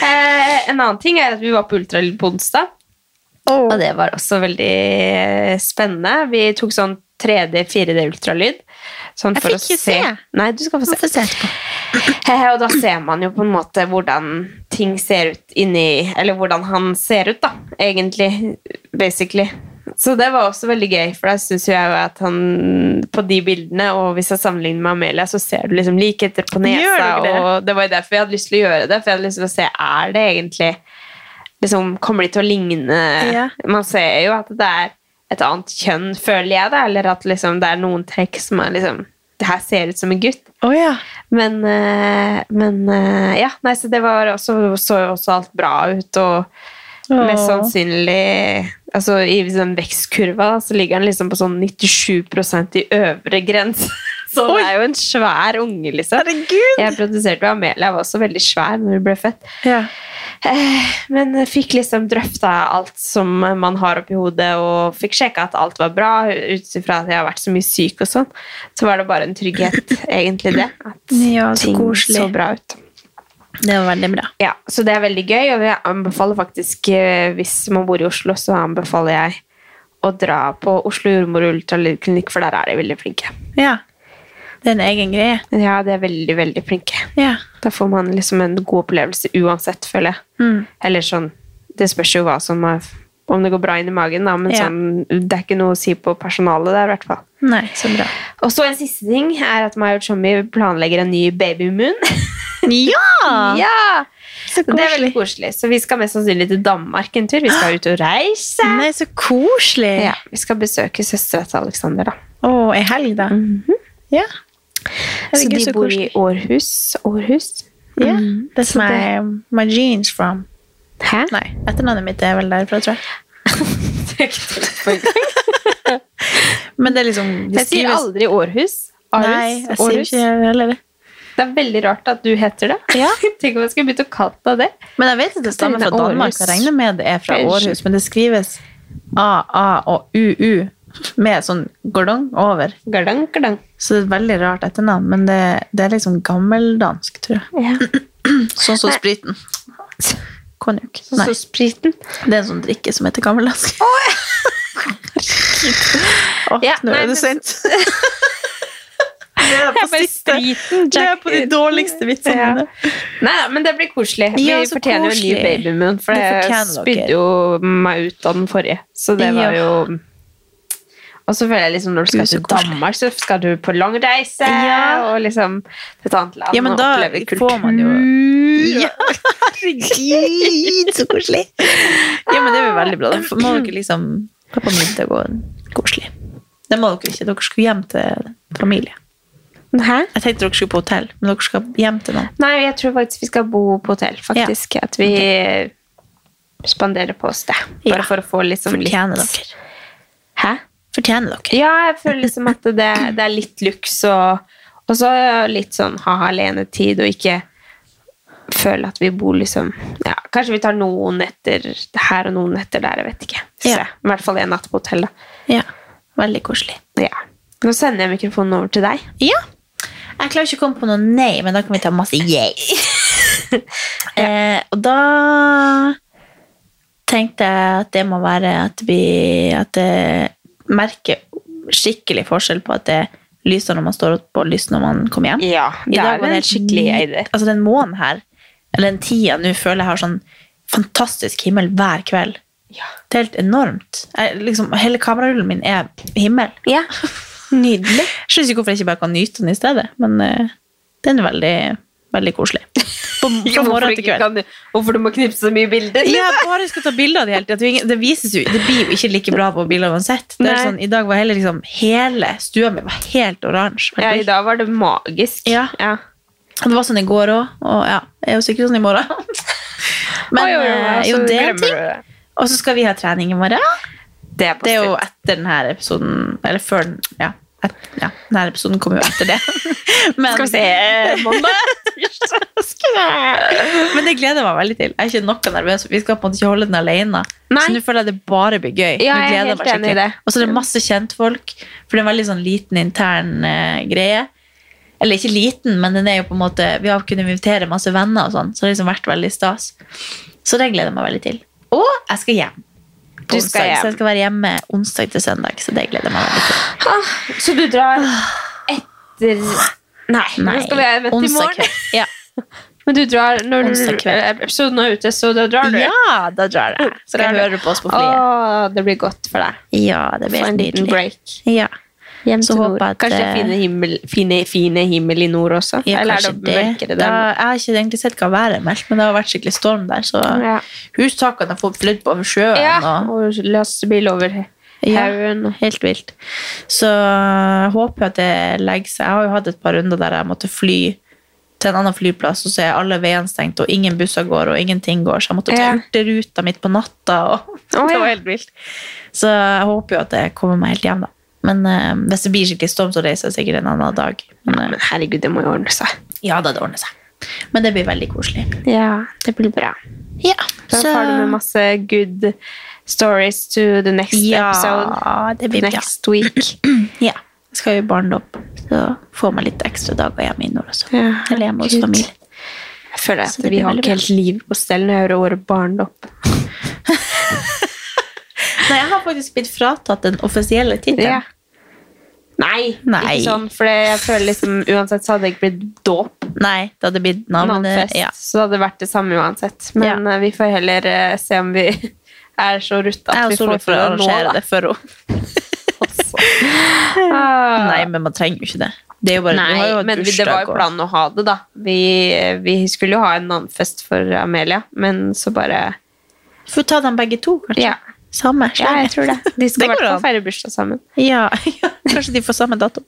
A: Eh, en annen ting er at vi var på ultralyd på onsdag. Og det var også veldig eh, spennende. Vi tok sånn 3D, 4D ultralyd. Sånn
B: Jeg
A: for
B: fikk
A: å
B: ikke se.
A: Nei, du skal få se. Eh, og da ser man jo på en måte hvordan ting ser ut inni Eller hvordan han ser ut, da. Egentlig. Basically. Så det var også veldig gøy, for da syns jeg jo at han På de bildene, og hvis jeg sammenligner med Amelia, så ser du liksom likheter på nesa.
B: Gjør du ikke det?
A: Og det var jo derfor jeg hadde lyst til å gjøre det, for jeg hadde lyst til å se er det egentlig liksom, Kommer de til å ligne
B: Ja.
A: Man ser jo at det er et annet kjønn, føler jeg det, eller at liksom, det er noen trekk som er liksom Det her ser ut som en gutt.
B: Å ja.
A: Men, eh, men eh, ja, nei, så det var også, så jo også alt bra ut, og mest sannsynlig altså, I den vekstkurva da, så ligger den liksom på sånn 97 i øvre grense. Så
B: Oi!
A: det er jo en svær unge, liksom.
B: Herregud!
A: Jeg produserte jo Amelia, jeg var også veldig svær når hun ble født.
B: Ja.
A: Eh, Men jeg fikk liksom drøfta alt som man har oppi hodet, og fikk sjekka at alt var bra, ut ifra at jeg har vært så mye syk og sånn. Så var det bare en trygghet, egentlig, det. At
B: Ja, så
A: ting
B: koselig.
A: så bra ut.
B: Det var veldig bra.
A: Ja, Så det er veldig gøy, og jeg anbefaler faktisk, eh, hvis man bor i Oslo, så anbefaler jeg å dra på Oslo jordmor og ultralydklinikk, for der er de veldig flinke.
B: Ja. Det er en egen greie.
A: Ja, de er veldig, veldig flinke.
B: Ja.
A: Da får man liksom en god opplevelse uansett, føler jeg.
B: Mm.
A: Eller sånn Det spørs jo hva som er Om det går bra inn i magen, da, men
B: Ja.
A: sånn, det er ikke noe å si på personalet der, i hvert fall.
B: Nei, så bra.
A: Og så en siste ting er at Mayo Chommy planlegger en ny babymoon.
B: Ah.
A: Ja! Så det er
B: koselig.
A: veldig koselig. Så vi skal mest sannsynlig til Danmark en tur. Vi skal ut og reise.
B: Nei, så koselig!
A: Ja, vi skal besøke søstera til Alexander, da.
B: Å, ei helg, da. Ja.
A: Så
B: Herregud,
A: de
B: Mhm. så
A: bor
B: koselig.
A: i Århus. Århus?
B: Ja,
A: Mm.
B: that's
A: Så det-
B: my, my jeans from.
A: Hæ?
B: Nei, etternavnet mitt er vel derfra, tror jeg. Men det er liksom de
A: Jeg sier
B: skrives-
A: aldri Århus.
B: Nei, jeg
A: Århus.
B: sier
A: Århus.
B: ikke heller det.
A: Det er veldig rart at du heter det.
B: Ja.
A: Tenk om jeg skulle begynt å kalle deg det.
B: Men jeg vet at det stammer fra
A: Denne
B: Danmark.
A: Aarhus.
B: Jeg regner med det er fra
A: Unnskyld.
B: Århus, men det skrives A, A og U, U med sånn gordong over.
A: Gardang, gardang.
B: Så det er et veldig rart etternavn, men det, det er liksom gammeldansk, tror jeg.
A: Ja.
B: Sånn som spriten. Sånn Konjakk.
A: Så,
B: Nei,
A: så spriten.
B: det er en sånn drikke som heter gammeldansk. Åh,
A: Ja,
B: nå
A: nei,
B: er
A: men-
B: det sent. Det er på
A: Jeg bare
B: siste.
A: spriten,
B: Det er
A: Jack.
B: på de dårligste vitsene
A: Ja.
B: mine.
A: Nei, ja, men det blir koselig. Vi
B: Ja, så
A: fortjener jo en ny
B: koselig.
A: babymoon, for
B: Det
A: det
B: fortjener dere.
A: spydde jo meg ut av den forrige. Så det
B: Ja.
A: var jo Og så føler jeg liksom når
B: Gud,
A: du skal
B: så
A: til Danmark, så skal du på langreise
B: Ja.
A: og liksom til et annet land
B: Ja, men
A: og
B: da
A: oppleve kultur.
B: får man jo Ja, herregud, så koselig! Ja, men det er jo veldig bra. Da må dere liksom gå på middag og koselig. Det må dere ikke. Dere skulle hjem til familie.
A: Hæ?
B: Jeg tenkte dere skulle på hotell, men dere skal hjem til noen.
A: Nei, jeg tror faktisk vi skal bo på hotell, faktisk. At vi spanderer på oss det. Bare
B: Ja.
A: for å få liksom
B: Fortjener
A: litt
B: dere.
A: Hæ?
B: Fortjener dere.
A: Ja, jeg føler liksom at det, det er litt luks og, og så litt sånn ha-ha alenetid og ikke føle at vi bor liksom ja, Kanskje vi tar noen netter her og noen netter der, jeg vet ikke. Så,
B: Ja.
A: I hvert fall en natt på hotell, da.
B: Ja, veldig koselig.
A: Ja. Nå sender jeg mikrofonen over til deg.
B: Ja. Jeg klarer ikke å komme på noe nei, men da kan vi ta masse yay. eh, og da tenkte jeg at det må være at vi at det merker skikkelig forskjell på at det lyser når man står opp, og lyser når man kommer hjem.
A: Ja,
B: I
A: det
B: dag var
A: er jo
B: det
A: en
B: helt
A: skikkelig
B: ny-
A: idé.
B: Altså den månen her, eller den tida nå, føler jeg har sånn fantastisk himmel hver kveld. Det er helt enormt. Jeg, liksom, hele kamerarullen min er himmel.
A: Ja. Nydelig.
B: Jeg skjønner ikke hvorfor jeg ikke bare kan nyte den i stedet, men eh, den er veldig, veldig koselig. På, fra
A: Ja, hvorfor,
B: morgen til
A: ikke
B: kveld.
A: kan du, hvorfor du må knipse så mye bilder?
B: Ja, jeg bare skal ta bilder av det hele tiden. Det er jo ingen- Det, vises jo, det blir jo ikke like bra på bilder uansett. Det er
A: Nei.
B: sånn, I dag var hele, liksom, hele stua mi var helt oransje. med
A: Ja, i
B: bilder.
A: dag var det magisk.
B: Ja. Og det var sånn i går òg, og ja, jeg er jo sikkert sånn i morgen. Men
A: Oi, oi, oi,
B: eh,
A: altså,
B: jo, det er
A: glemmer
B: en
A: du
B: ting.
A: det.
B: Og så skal vi ha trening i morgen.
A: Det er, på
B: Det er jo
A: slutt.
B: etter denne episoden Eller før den Ja, et, ja denne episoden kommer jo etter det. Men,
A: Skal vi se eh, Mandag?
B: Men det gleder jeg meg veldig til. Jeg er ikke noe nervøs. Vi skal på en måte ikke holde den alene.
A: Nei.
B: Så nå føler jeg det bare blir gøy.
A: Ja,
B: Nå
A: jeg er
B: gleder
A: helt
B: meg skikkelig.
A: enig i det.
B: Og så er det masse kjentfolk, for det er en veldig sånn liten intern eh, greie. Eller ikke liten, men den er jo på en måte Vi har kunnet invitere masse venner og sånn, så det har liksom vært veldig stas. Så det gleder jeg meg veldig til. Og jeg skal hjem. på
A: Du skal
B: onsdag, Så
A: hjem.
B: jeg skal være hjemme onsdag til søndag, så det gleder jeg meg veldig til.
A: Ah, Så du drar etter Nei, nå
B: Nei,
A: skal vi vente i
B: onsdag
A: morgen.
B: kveld. Ja.
A: Men du drar når du,
B: Onsdag kveld.
A: eh, episoden er ute, så da drar du.
B: ja, da drar jeg. Så
A: Drar
B: jeg
A: du.
B: hører på oss på flyet.
A: Å, det blir godt for deg.
B: Ja, det blir
A: Få en
B: helt
A: liten
B: nydelig.
A: break.
B: Ja.
A: Hjem
B: Så
A: til
B: håper
A: nord.
B: jeg at,
A: Kanskje det er
B: eh,
A: fine himmel, fine, fine himmel i nord også?
B: Ja,
A: Eller er
B: kanskje
A: det mørkere
B: Da,
A: der?
B: jeg har ikke egentlig sett hva været er meldt, men det har vært skikkelig storm der, så
A: Ja.
B: hustakene har fått flydd over sjøen.
A: Ja,
B: Og,
A: og lastebil over haugen.
B: ja, helt vilt. Så jeg håper at det legger seg. Jeg har jo hatt et par runder der jeg måtte fly til en annen flyplass, og så er alle veiene stengt, og ingen busser går, og ingenting går, så jeg måtte ta
A: Ja.
B: hurtigruta midt på natta, og
A: Å,
B: det
A: ja.
B: var helt vilt. Så jeg håper jo at det kommer meg helt hjem, da. Men eh, hvis det blir skikkelig storm, så reiser jeg sikkert en annen dag. Men, eh,
A: Men herregud, det må jo ordne seg.
B: ja da, det ordner seg. Men det blir veldig koselig.
A: Ja, det blir bra.
B: Ja,
A: Da får du med masse good stories to the next
B: ja,
A: episode.
B: det blir bra.
A: Next week.
B: Ja. Jeg skal jo i barndom, så får man litt ekstra dager hjemme i nord også.
A: Ja,
B: Eller hjemme hos
A: herregud.
B: familien.
A: Jeg
B: Så
A: føler at
B: det
A: vi
B: blir
A: har
B: veldig
A: ikke
B: bra.
A: helt liv på stell når jeg hører året barndom.
B: Nei, jeg har faktisk blitt fratatt den offisielle tittelen.
A: Ja. Nei,
B: Nei.
A: ikke sånn, for jeg føler liksom uansett så hadde jeg ikke blitt dåp
B: Nei, det hadde blitt navnet.
A: navnfest,
B: Ja.
A: så det hadde vært det samme uansett. Men eh, vi får heller eh, se om vi er så rutta
B: Jeg
A: at
B: og
A: vi får
B: Solveig får
A: til det nå,
B: arrangere
A: da.
B: det for henne.
A: Oss.
B: altså. Nei, men man trenger jo ikke det. Det er jo bare, du har jo
A: Ah. Nei,
B: hatt
A: men vi- det var
B: bursdag
A: jo
B: og-
A: planen å ha det, da. Vi, eh, vi skulle jo ha en navnfest for Amelia, men så bare
B: Får ta dem begge to, kanskje?
A: Ja,
B: Samme?
A: ja jeg tror det. De
B: Det
A: skal i hvert
B: går
A: fall
B: an.
A: feire bursdag sammen.
B: Ja, ja, kanskje de får samme dato.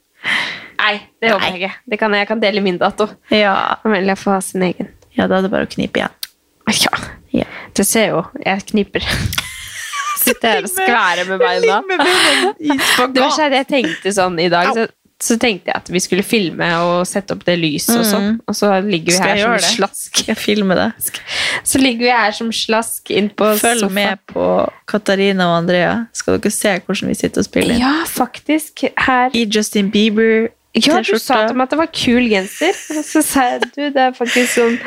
A: Nei, det håper jeg ikke. Det kan, jeg kan dele min dato.
B: Ja.
A: Amelia får ha sin egen.
B: ja, da er det bare å knipe igjen.
A: Ja,
B: Ja.
A: du ser jo. Jeg kniper. Sitter her og skværer med beina. Det var sånn, jeg tenkte sånn i dag, så, så tenkte jeg at vi skulle filme og sette opp det lyset og sånn. Og så ligger vi
B: Skal jeg
A: her som
B: gjøre det?
A: slask.
B: Skal jeg filme det?
A: Så ligger vi her som slask inn på
B: Følg
A: sofaen.
B: med på Katarina og Andrea. Skal dere se hvordan vi sitter og spiller inn?
A: Ja, faktisk. Her.
B: I Justin Bieber.
A: Ja, du
B: T-skjorte.
A: sa til meg at det var kul genser. Og så sa jeg du, det er faktisk sånn